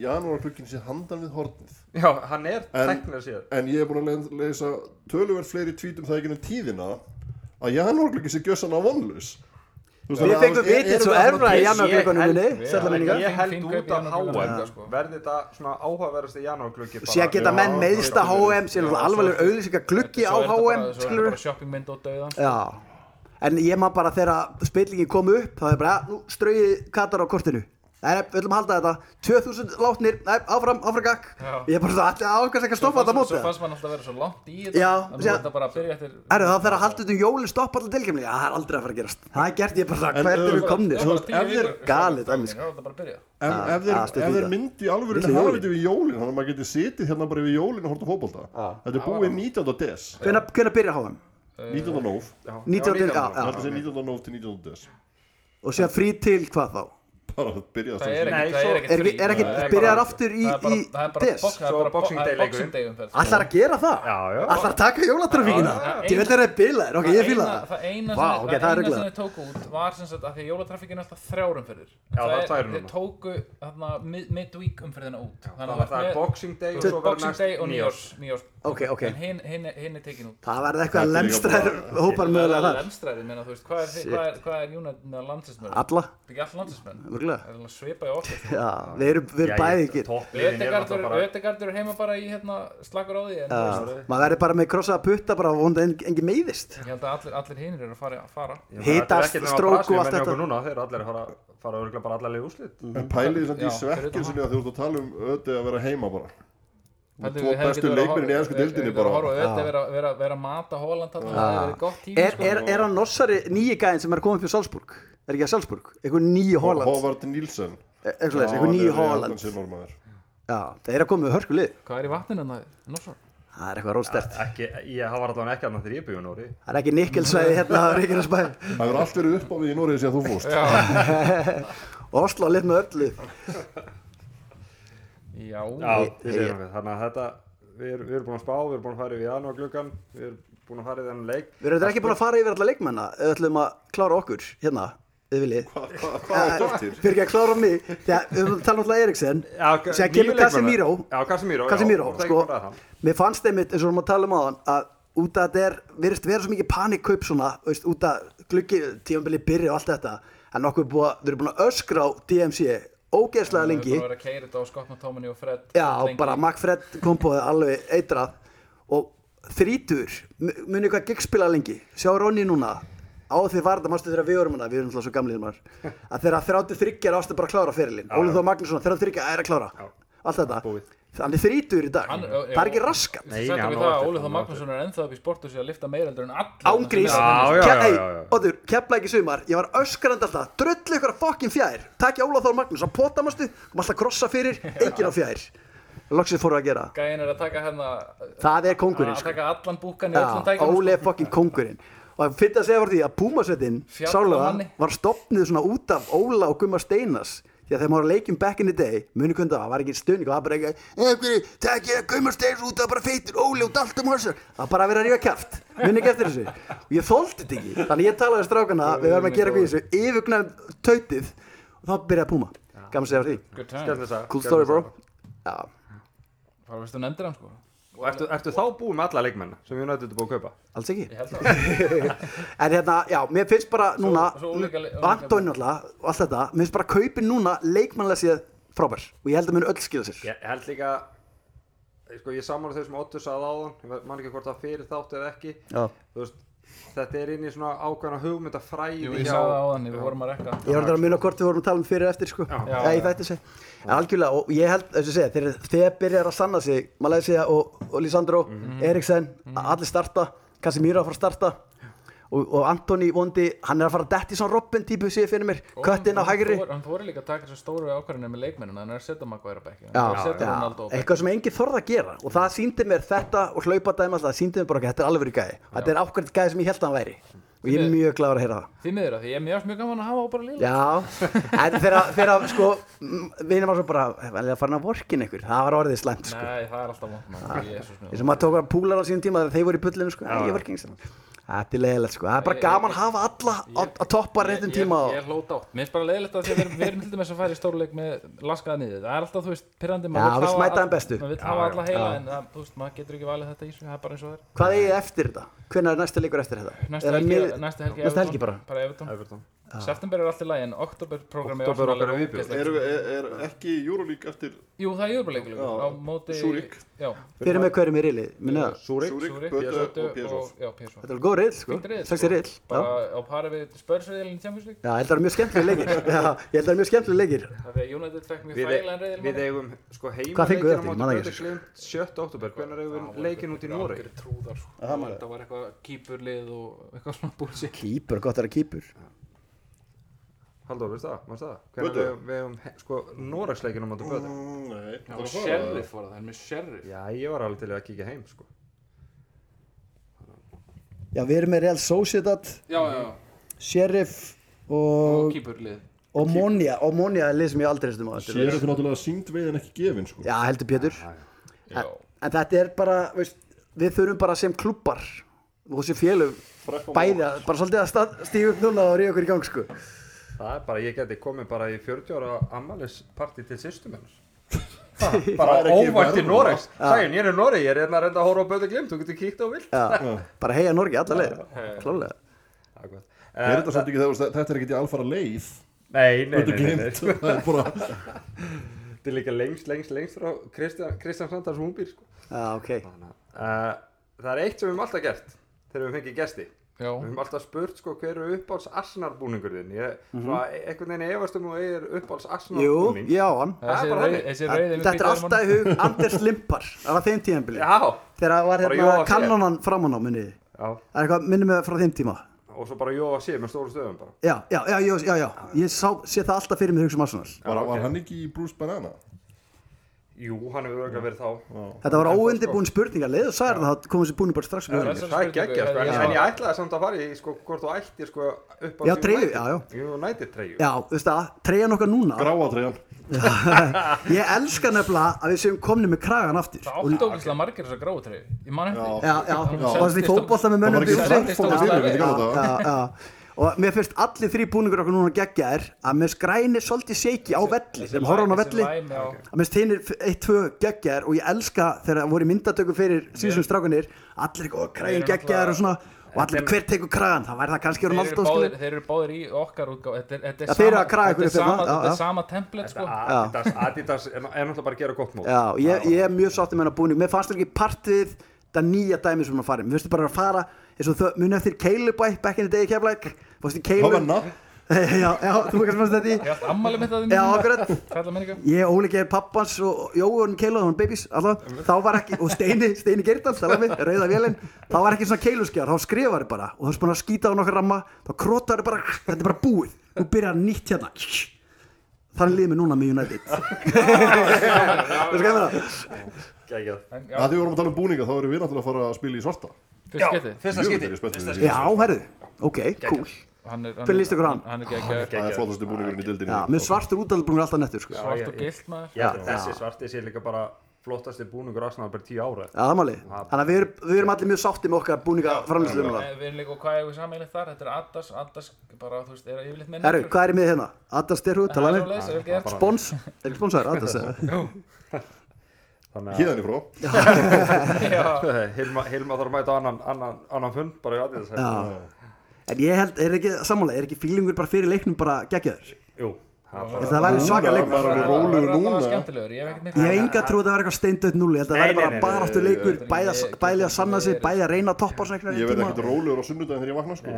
janúarklukkin sé handan við hornið já, hann er En- teknilega sér en ég er búin að le- lesa töluverð fleiri tvítum það ekki en tíðina að janúarglöggi sé gjössan á vonlaus Við fengum vitið svo erfra í Ég- janúarglökunum ég- minni, sætla minninga ég held Fín- fín út kaup í af janúarglugga, háa sko. verði þetta svona áhugaverðasti janúarklukki Sér geta menn meðsta HM sér alvarlegur auðlýsingar gluggi á HM Svo er þetta skilurðu. Eh, bara shoppingmynd og dauðan Já, en ég maður bara þegar spillingin kom upp þá er bara, "Ja, nú ströyið Katar á kortinu Nei, nei, við ætlum að halda þetta 2000 látnir, nei, áfram, áfram gakk Já. Ég er bara svo, allir ákvæmst ekki að stoppa þetta á móti Svo fannst mann alltaf að vera svo langt í þetta Já, En nú síðan- er þetta bara að byrja eftir Erðu, það þarf að halda þetta um jólin, stoppa allir tilkemni Já, það er aldrei að fara að gerast Það er gert, ég er bara svo, En hvert þú- eru við komnir Það er bara tíu ef þeir- vikur. Galið, Það er dæmi, sko. bara að byrja En Ah, ef þeir, ah, stutt í ef þeir það. myndi í alvöru Litlu hafa jólin. þetta við jólin þannig að maður geti sitið hérna bara við jólin og horta fótbolta þetta er búið 19. des Hvenær hvenær byrja HM? 19. nóf, 19. Já, ég já. held að segja 19. nóf til 19. des Og sér frí til hvað þá? bara að byrja Það er strax. Nei, ekkert- það svo- er Er, ekkert vi- er ekki, frí. Það er byrjar bara- aftur í, Það er bara- í það er bara des? bok- það er Svo bara bo- Boxing það er Day leikurinn. Boxing Day umferð sko. Allar að gera það? Já, já. Allar að taka jólatrafíkina? Já, já. Ég veit að það er bilaðir, ok, eina- ég fíla það Það eina, Vá, sem, ok, okay, það það er eina sem ruglað. þeir tóku út var sem sagt að því að jólatrafíkin er alltaf þrjár umferðir Já, það er tvær núna. Þeir tóku þarna mid- midweek umferðina út Þannig það var það er Boxing Day og Boxing svo verður Boxing næst Day og nýjórs, nýjórs. Ok, ok. En hinn hin, hin er tekin út Það verði Þetta eitthvað er líka lemstrar hópar mögulega Það er þar lemstræði, meina þú veist, hvað er, hvað er, hvað er United með landsinsmenn? Alla, Það er ekki all landsinsmenn mörgulega Það er alveg svipa í okkur Já, við erum, við erum bæði ekki toppliðin er Ödegardur náttúrulega bara Ödegardur er heima bara í hérna slagur á því en þú veist, Já, maður verður bara með krossaða putta bara og vonda en, engin meiðist ég held að allir, allir hinir eru að fara, fara. Hita, stroke og allt þetta. þetta núna, þeir eru allir að fara, fara örgulega bara allar leið úrslit en pæliði samt Mhm. Já, í svekkin fyrir sinni að þú ert að tala um öti að vera heima bara Pældu, tvo við hefðum getað bestu verið að leikmennin í horfa- ensku við- deildinni við- við bara. vorum að horfa á Öddi vera, vera, vera að mata Holland þarna, það hefði verið gott tími sko. er, er, er hann nossari nýji gæðin sem er komið upp í Salzburg? Er ekki að Salzburg? Eitthvað nýju Holland Hóvard Nílsen E- Eitthvað leis, eitthvað nýju Holland Holland Já, það er að komið hörkulið Hvað er í vatninu hérna, hann það? Norsson? Það er eitthvað róstert ekki, ég hafa allavega ekki annað þegar ég byggjum núri Það er ekki nikkelsvæði hérna á Reykjanesbæ það er allt verið upp á við í Noregi síðan þú [LAUGHS] fórst Oslo lit með öllu Já, Já, Ég- ég segir hann við. Þannig að þetta, við erum, við erum búin að spá, við erum búin að fara yfir janúargluggan, við erum búin að fara í þennan leik Við erum þetta ekki búin að fara yfir alla leikmenna ef við ætlum að klára okkur hérna ef við viljið Hvað hva, hva er dóttir? Fyrir ekki að klára mig Þegar við erum að tala um náttúrulega Eriksen Já, nýju Sér kemur leikmanna. Casemiro Já, Casemiro, já, Casemiro, og það er sko ekki bara það. Mér fannst einmitt, eins og við erum að tala um áðan að út að þetta er, virðist vera svo mikið panikkaup svona, veist, út að gluggi tímabili byrja og allt þetta en okkur er búið að, þau eru búin að öskra á DMC ógeðslega Það er lengi bara að vera að keira þetta á Scottman Tómini og Fred Já, lengi. bara Macfred komboði alveg eitrað og þrítur, munið hvað gig spila lengi, sjá Ronny núna á því varða, mástu þegar við vorum hana við erum alltaf svo gamlið [LAUGHS] maður, að þegar 33 er ástu bara að klára fyrirlin, Ólið Þó Magnússon 33 er að klára, allt þetta búið. hann er þrítur í dag, Hann- já, það er ekki já. raskat Nei, Svo nei, settum hann við það á að eftir, Ólið hann þá á Magnússon er ennþá upp í sportu sér að lifta meira heldur en allir Ángrís Já, já, já, já, já. Óður, kepla ekki sumar, ég var öskrandi alltaf drullu ykkur að fokkin fjær, takja Ólaf Þór Magnús að pota mástu, kom alltaf að krossa fyrir engin á fjær, loksins fóru að gera Gæin er að taka hérna það er kongurinn að sko. taka allan búkan í öllum sko. Já, tækjum Óli er fokkin kongurinn og það fyrir að segja frá því að Púmasveitin Fjall á manni. sálega var stopnið svona út af Óla og Gumma Steinas því að þegar maður var að leikjum back in the day muni kundi að það var ekki stunning og það bara "Eh, ekki einhverju, tekja Gumma Steinas út af bara feitur Óli og Daltum Harsar það var bara að vera að rífa kæft, muni ekki eftir þessu og ég þóldi þetta ekki, þannig ég talaði við strákana við verðum að gera eitthvað í þessu, yfirgnæm tautið og þá byrjaði Púma gaman að segja frá því, Good time Skemmtileg saga, cool skemmtileg story bro saga. Já. Fara veist þú nefndir hann sko Og ertu, ertu þá búið með alla leikmenn sem við nættum búið að kaupa? Alls ekki? [LAUGHS] Ég held það En hérna, já, mér finnst bara núna svo ólíka le- ólíka- Antoni alltaf og allt þetta Mér finnst bara kaupin núna leikmannlega séð frábær Og ég held að mér öll skila sér Ég held líka eh, sko, ég sammála þau sem Otto sagði áðan ég ve- man ekki hvort það fyrir þátt eða ekki Já. þú veist, þetta er inn í svona ákveðna hugmyndafræði Jú, ég sagði það á þannig, við vorum að rekka Ég var þetta að muna hvort við vorum að tala um fyrir og eftir sko. Já. Eða í þætti sig En algjörlega, og ég held, þess að segja Þegar, þegar byrjar að sanna sig Malaysia og, og Lisandro, Mhm. Eriksen Allir starta, Casemiro að fara að starta Og, og Antoni vondi Hann er að fara að detti svona Robin típu Sér fyrir mér, köttin á hægri Hann þóri líka að taka þessu stóru ákvarðinu með leikmennina Hann er að setja Maguire á bekkin já, Hann er að setja Ronaldo á bekkin eitthvað sem enginn þorði að gera og það síndi mér þetta og hlaupadæma það síndi mér bara ekki, þetta er alveg gæði þetta er ákveðt gæði sem ég held að hann væri og ég er mjög gláður að heyra það Því miður að því ég er mjög mjög gaman að hafa á bara líla [LAUGHS] já, en þegar, þegar sko m- vinur maður svo bara, velja að fara að vorkin ykkur það var orðið slæmt sko Ah. Nei, það er alltaf vont maður, Jesús minn. eins og maður tók að púlar á sínum tíma þegar þeir voru í bullinu sko, ég var ekki eins og þetta er leiðilegt sko, það er bara gaman að hafa alla á- að toppa Ég- réttum tíma Ég, og ég hlót átt, mér finnst bara leiðilegt að því að við erum- við erum hildum þess að fara í stóruleik með laskaða niður, það er alltaf, þú veist, pirrandi maður Já, vill vill hafa mæta all- þeim bestu. maður vill hafa alla heila, en það, þú veist, maður getur ekki valið þetta í svo, það er bara eins og það er hvað er eftir þetta? hvenær er næsta leikur eftir þetta? Næsta Er það helgi, mið- næsta helgi, næsta Everton, helgi bara? bara Everton. Everton. September er alltaf lægi, en oktober programmi Október okkar er viðbjóður. Erum við, er, er ekki Euroleague eftir Jú, það er júruleikulegu Já, á móti Zurich. Já, Þeir eru með hverjum í rili, minna það? Súrik Zurich, Zurich, Böte Böte og Pérsóf? og- Já, Pérsó Þetta er alveg góð reyðl sko, sexi reyðl Bara á pari við spörsriðilin í Champions League Já, ég held að það eru mjög skemmtilega leikir [LAUGHS] Já, ég held að það eru mjög skemmtilega leikir Það er United fekk mjög Við, þægilegan reyðil við eigum sko heima Hvað fenguð þið á eftir? móti Man það ekki. Bröðuglimt 7. oktober, hvernig eigum við leikin út í Nóri? Trúðar, sko. Það var eitthvað kýpurlið og eitthvað svona búrsi Kýpur, gott að vera kýpur Haldur, veist það? Manst það? Böddu? Hvernig við eigum, við eigum he- sko Nóraksleikin á móti Bröðu? Mm, Nei, það Og sheriff var það, það er með sheriff Já, ég var alveg til í að kíkja heim sko Já, við erum með Real Sociedad, Já, já, já, Sheriff og og kýpurlið Omonia Omonia er lið sem ég aldrei reistum á Sér þetta náttúrulega sínd veið en ekki gefin sko. Já, heldur Pétur Já, En þetta er bara, veist, við þurfum bara sem klubbar og sem félug bæði að, bara svolítið að stað, stíu upp núna og ríða okkur í gang sko Það er bara, ég geti komið bara í 40 ára ammælisparti til sýstum [LAUGHS] hennar Það er Bara óvænt í ekki sko. verra. Noregs Ah. Sæjun, ég er í Noreg, ég er hérna að reynda að horfa á Böðu Glimt Þú getur kíkt á vilt Já, bara heia Norgi alla leið Klálega Það er gott. Er Eh, þetta samt ekki þegar þetta er ekki í alfara leið Nei, nei, Þetta nei, nei, nei. er glimt [LAUGHS] Það er bara Þetta er líka lengst, lengst, lengst frá Kristján, Kristján Sandars húnbýr sko. Já, ok uh, Það er eitt sem við höfum alltaf gert þegar við fengið gesti já, Við höfum alltaf spurt sko, hver er uppáhalds Arsenal-búningur þinn Ég, svona, einhvern veginn efast um og ég er uppáhalds Mhm. Jú, Arsenal-búning já, hann Það er bara þannig. þessi reyðil Þetta er alltaf í hug Anders Limpar Það var þeim tíðanbili Já, Þegar var Bara Jóa hérna Fel. kannonan framann á munni já, Það er eitthvað, minnum við frá þeim tíma og svo bara Jóa sé með stóru stöðum bara Já, já, já, já, já, já. ég sá, sé það alltaf fyrir mig hugsa um Arsenal Var, var hann ekki í Bruce Banana? Jú, hann hefur örgulega verið þá Þetta var óundibúin spurningar leið og sagði það komið sér búin bara strax upp í hugann. Þessari Það er spurningu geggja, sko, en, hefði ég en ég svarað. ætlaði samt að fara í sko, hvort þú ættir sko, upp á Já, treyju, já, já. United treyju Já, þú veist það, treyjan okkar núna Gráatreyjan Ég elska nefnilega að við séum komni með kragan aftur Það átti ógæslega margir þessar gráu treyju Ég man eftir Já. því. Já, já, Hún og þessi settist á- fótbolta með Það mönnum var ekki upp í Bjössi. farfóta fyrir mig, Já, þetta já, já. og mér finnst allir þrý búningur okkur núna geggjaðir að mér skræni svolítið seiki á velli þegar horfa hann á Þessi velli lime, já. að mér finnst hinn eitt, tvö geggjaðir og ég elska þegar það voru í myndatöku fyrir síðan strákunir allir ekki, ó, Þeir kræðin eru geggjaðir og svona og allir, Þeir- hver tekur kræðan, það væri það kannski Þeir um eru alltaf báðir- skilur Þeir eru báðir í okkar útgáð Þetta er- þetta Já, er þeir eru að sama- kraga ykkur þetta er upp hérna, sama- já, þetta já. er sama template sko Adidas, Adidas er er náttúrulega bara að gera gott mót já, og ég, ég er mjög sáttið með hennar búning mér fannst ekki partið það nýja dæmi sem hann farið, mér finnst bara að fara eins og þau, muni eftir keilubæ, back in the day keflæk, fannst þið keilu Havanna. [LAUGHS] já, já, þú kannski fannst þetta í Ég átti ammali mitt að því Já, akkurat. Fælla menninga Ég Óli gerir pappans og Jói og hann keilaði hann babies alltaf, þá var ekki, og Steini, Steini Geirdal talaði við, rauða vélinn, þá var ekki svona keiluskjár, þá skrifaði bara og það er búin að skýta á nokkar ramma, þá krótaði bara þetta er bara búið, þú byrjar nýtt hérna þannig liðið mér núna með United Veistu hvað ég meina? Geggjað. En já, Þegar við vorum að tala um búninga þá erum við náttúrulega að fara að spila í svarta Fyrst getið Fyrsta Jú, þetta er skipti ég spennt fyrir því. Já, herðu, ok, cool Hvernig líst ykkur á hann? Hann er geggjaður. Það er flottasti búningurinn í Já, dildinni með svartur útaldbrungur alltaf nettur sko. Já, svart Já, og ég- gilt maður Ég held að Já. þessi svarti sé líka bara flottasti búningur Arsenal bara í tíu ára það er máli, þannig að við erum, við erum allir mjög sáttið með okkar búninga framlýslu Eh, Við erum líka og hvað er við sammeilið þar? Þetta er Adas, Adas bara, þú veist, er yfirleitt með Herru, hvað er í miðið hérna? Adas Derhú, Það talaði er við svoleiðis, vel gert. Spons, er ekki sponsaður, Adas eða? Þannig Híðan í frá Já. að Hilma, Hilma þarf að mæta á annan, annan, annan fund bara í Adidas Já. En ég held, er ekki sammála, er ekki fílingur bara fyrir leiknum bara geggjaður? Jú, það er Ég bara held að Það væri svaka Núna leikur. bara Það verður alveg rólegur allavega núna skemmtilegur, ég hef ekkert Ég mikla hef enga trú að það væri eitthvað steindöð núli, ég held að það Nei, væri nei, nei, bara baráttu leikur, nei, bæði að- nei, bæði að nei, sanna sig, nei, bæði að reyna að toppa svona Ég verð einhverja ekkert tíma. rólegur á sunnudaginn þegar ég vakna sko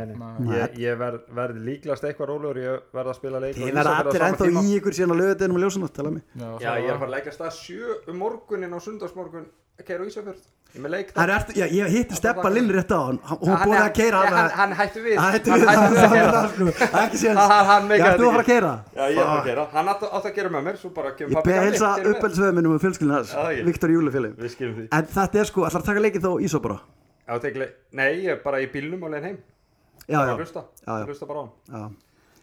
Ég, ég verð verð líklast eitthvað rólegur Ég verð að spila leik á Ég verða Ísafirði á allir sama ennþá tíma. í ykkur síðan að löða deginum og ljósanátt, tala mig. Já, ég er að fara að leggja stað sjö um morgunin á sundagsmorgun að keira á Ísafjörð Ég er með leik Það er eftir, já, ég hitti Steppa Linn rétt á hann, hún búið að keira hann, hann, hann hann hættu við Það hætti við [LAUGHS] það, það er það sko, það er ekki síðan. Hann- hann- hann meikaði Já, þú þetta var að ekki. keira. Já, ég er að gera Hann átt átt að gera með mér, svo bara kemur Ég pabbi beði gamli, helsa keyrir með. uppeldsveðminum og fjölskyldinu hans, Já, ég- Viktor Júlifilið. Við skiljum því En þetta er sko, ætlar að taka leikið þá í svo bara? Já, tekli, Nei, ég er bara í bílnum á leiðin heim Já, Bara já. að hlusta, Já, já. hlusta bara á hann Já.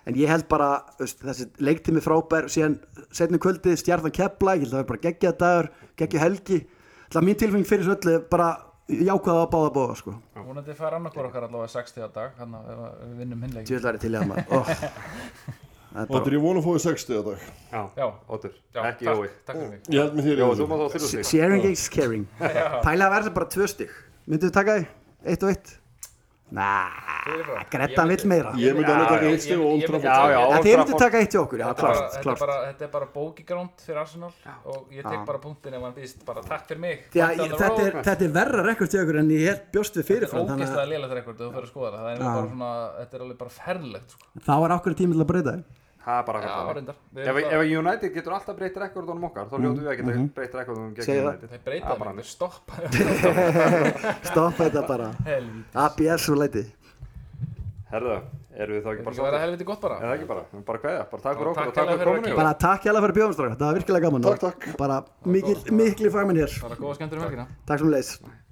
En ég held bara, veist, þessi leiktími frábær, síðan setnum kvöldið stjarnan kepla, ég held að það er bara geggja dagur, geggja helgi. Það mín tilfeng fyrir þessu öllu er bara jákvæða að báða bóða, sko. Vonandi fær annarkor okkar allavega 60 á dag Þannig að ef að við vinnum hinn leikin Djöðlega er ég til í það maður. Oh. Það Og er þetta bara... er ég vona að fóði 60 að dag Já, Já. Ótur, Já, ekki takk- Jói Takk fyrir mig Ég held með þér Jó, í þú þessu. má þá þurru sig Sharing is [LAUGHS] caring. Pælega verður bara tvö stygg. Myndu þið taka því? Eitt og eitt? Næ, Fyrirfram. Greta vill meira. Ég myndi alveg Já, taka já, eitt stig og ég- Old ég myndi- Trafford Já, já, En Old þið myndu Trafford. taka eitt í okkur, já, Þetta er bara- klart, þetta er klart. bara- Þetta er bara bókigránd fyrir Arsenal Og ég tek bara punktin ef hann býst Bara takk fyrir mig Því Back að on ég- the þetta er, road. þetta er verra rekord til okkur en ég held bjóst við Þetta er fyrirfram, þannig ógeðslega lélegt rekord ef þú fyrir að skoða það Það er Já. bara svona, þetta er alveg bara ferlegt sko. að þá er okkur tími til að breyta því. Það er bara Já, að reyndar Við Ef, erum ef bara- United getur alltaf breytt rekordunum okkar þá hljótu við að geta breytt rekordunum gegn Mhm. Segðu það. United Þeir breyta Það er það, bara þeir stoppa [LAUGHS] Stoppa þetta bara Helvíti ABS og læti Herðu, erum við þá ekki Þetta bara er verið sáttir? helviti gott bara Eða ekki bara, við erum bara að kveðja, bara takk fyrir okkur Já, takk og takk hérlega fyrir fyrir kominu okkur. Bara takk hérlega fyrir bjóðumstráka, það var virkilega gaman Takk, takk. Bara mikil, mikil fagmenn hér Bara góða skemmtur um helgina Takk sem leys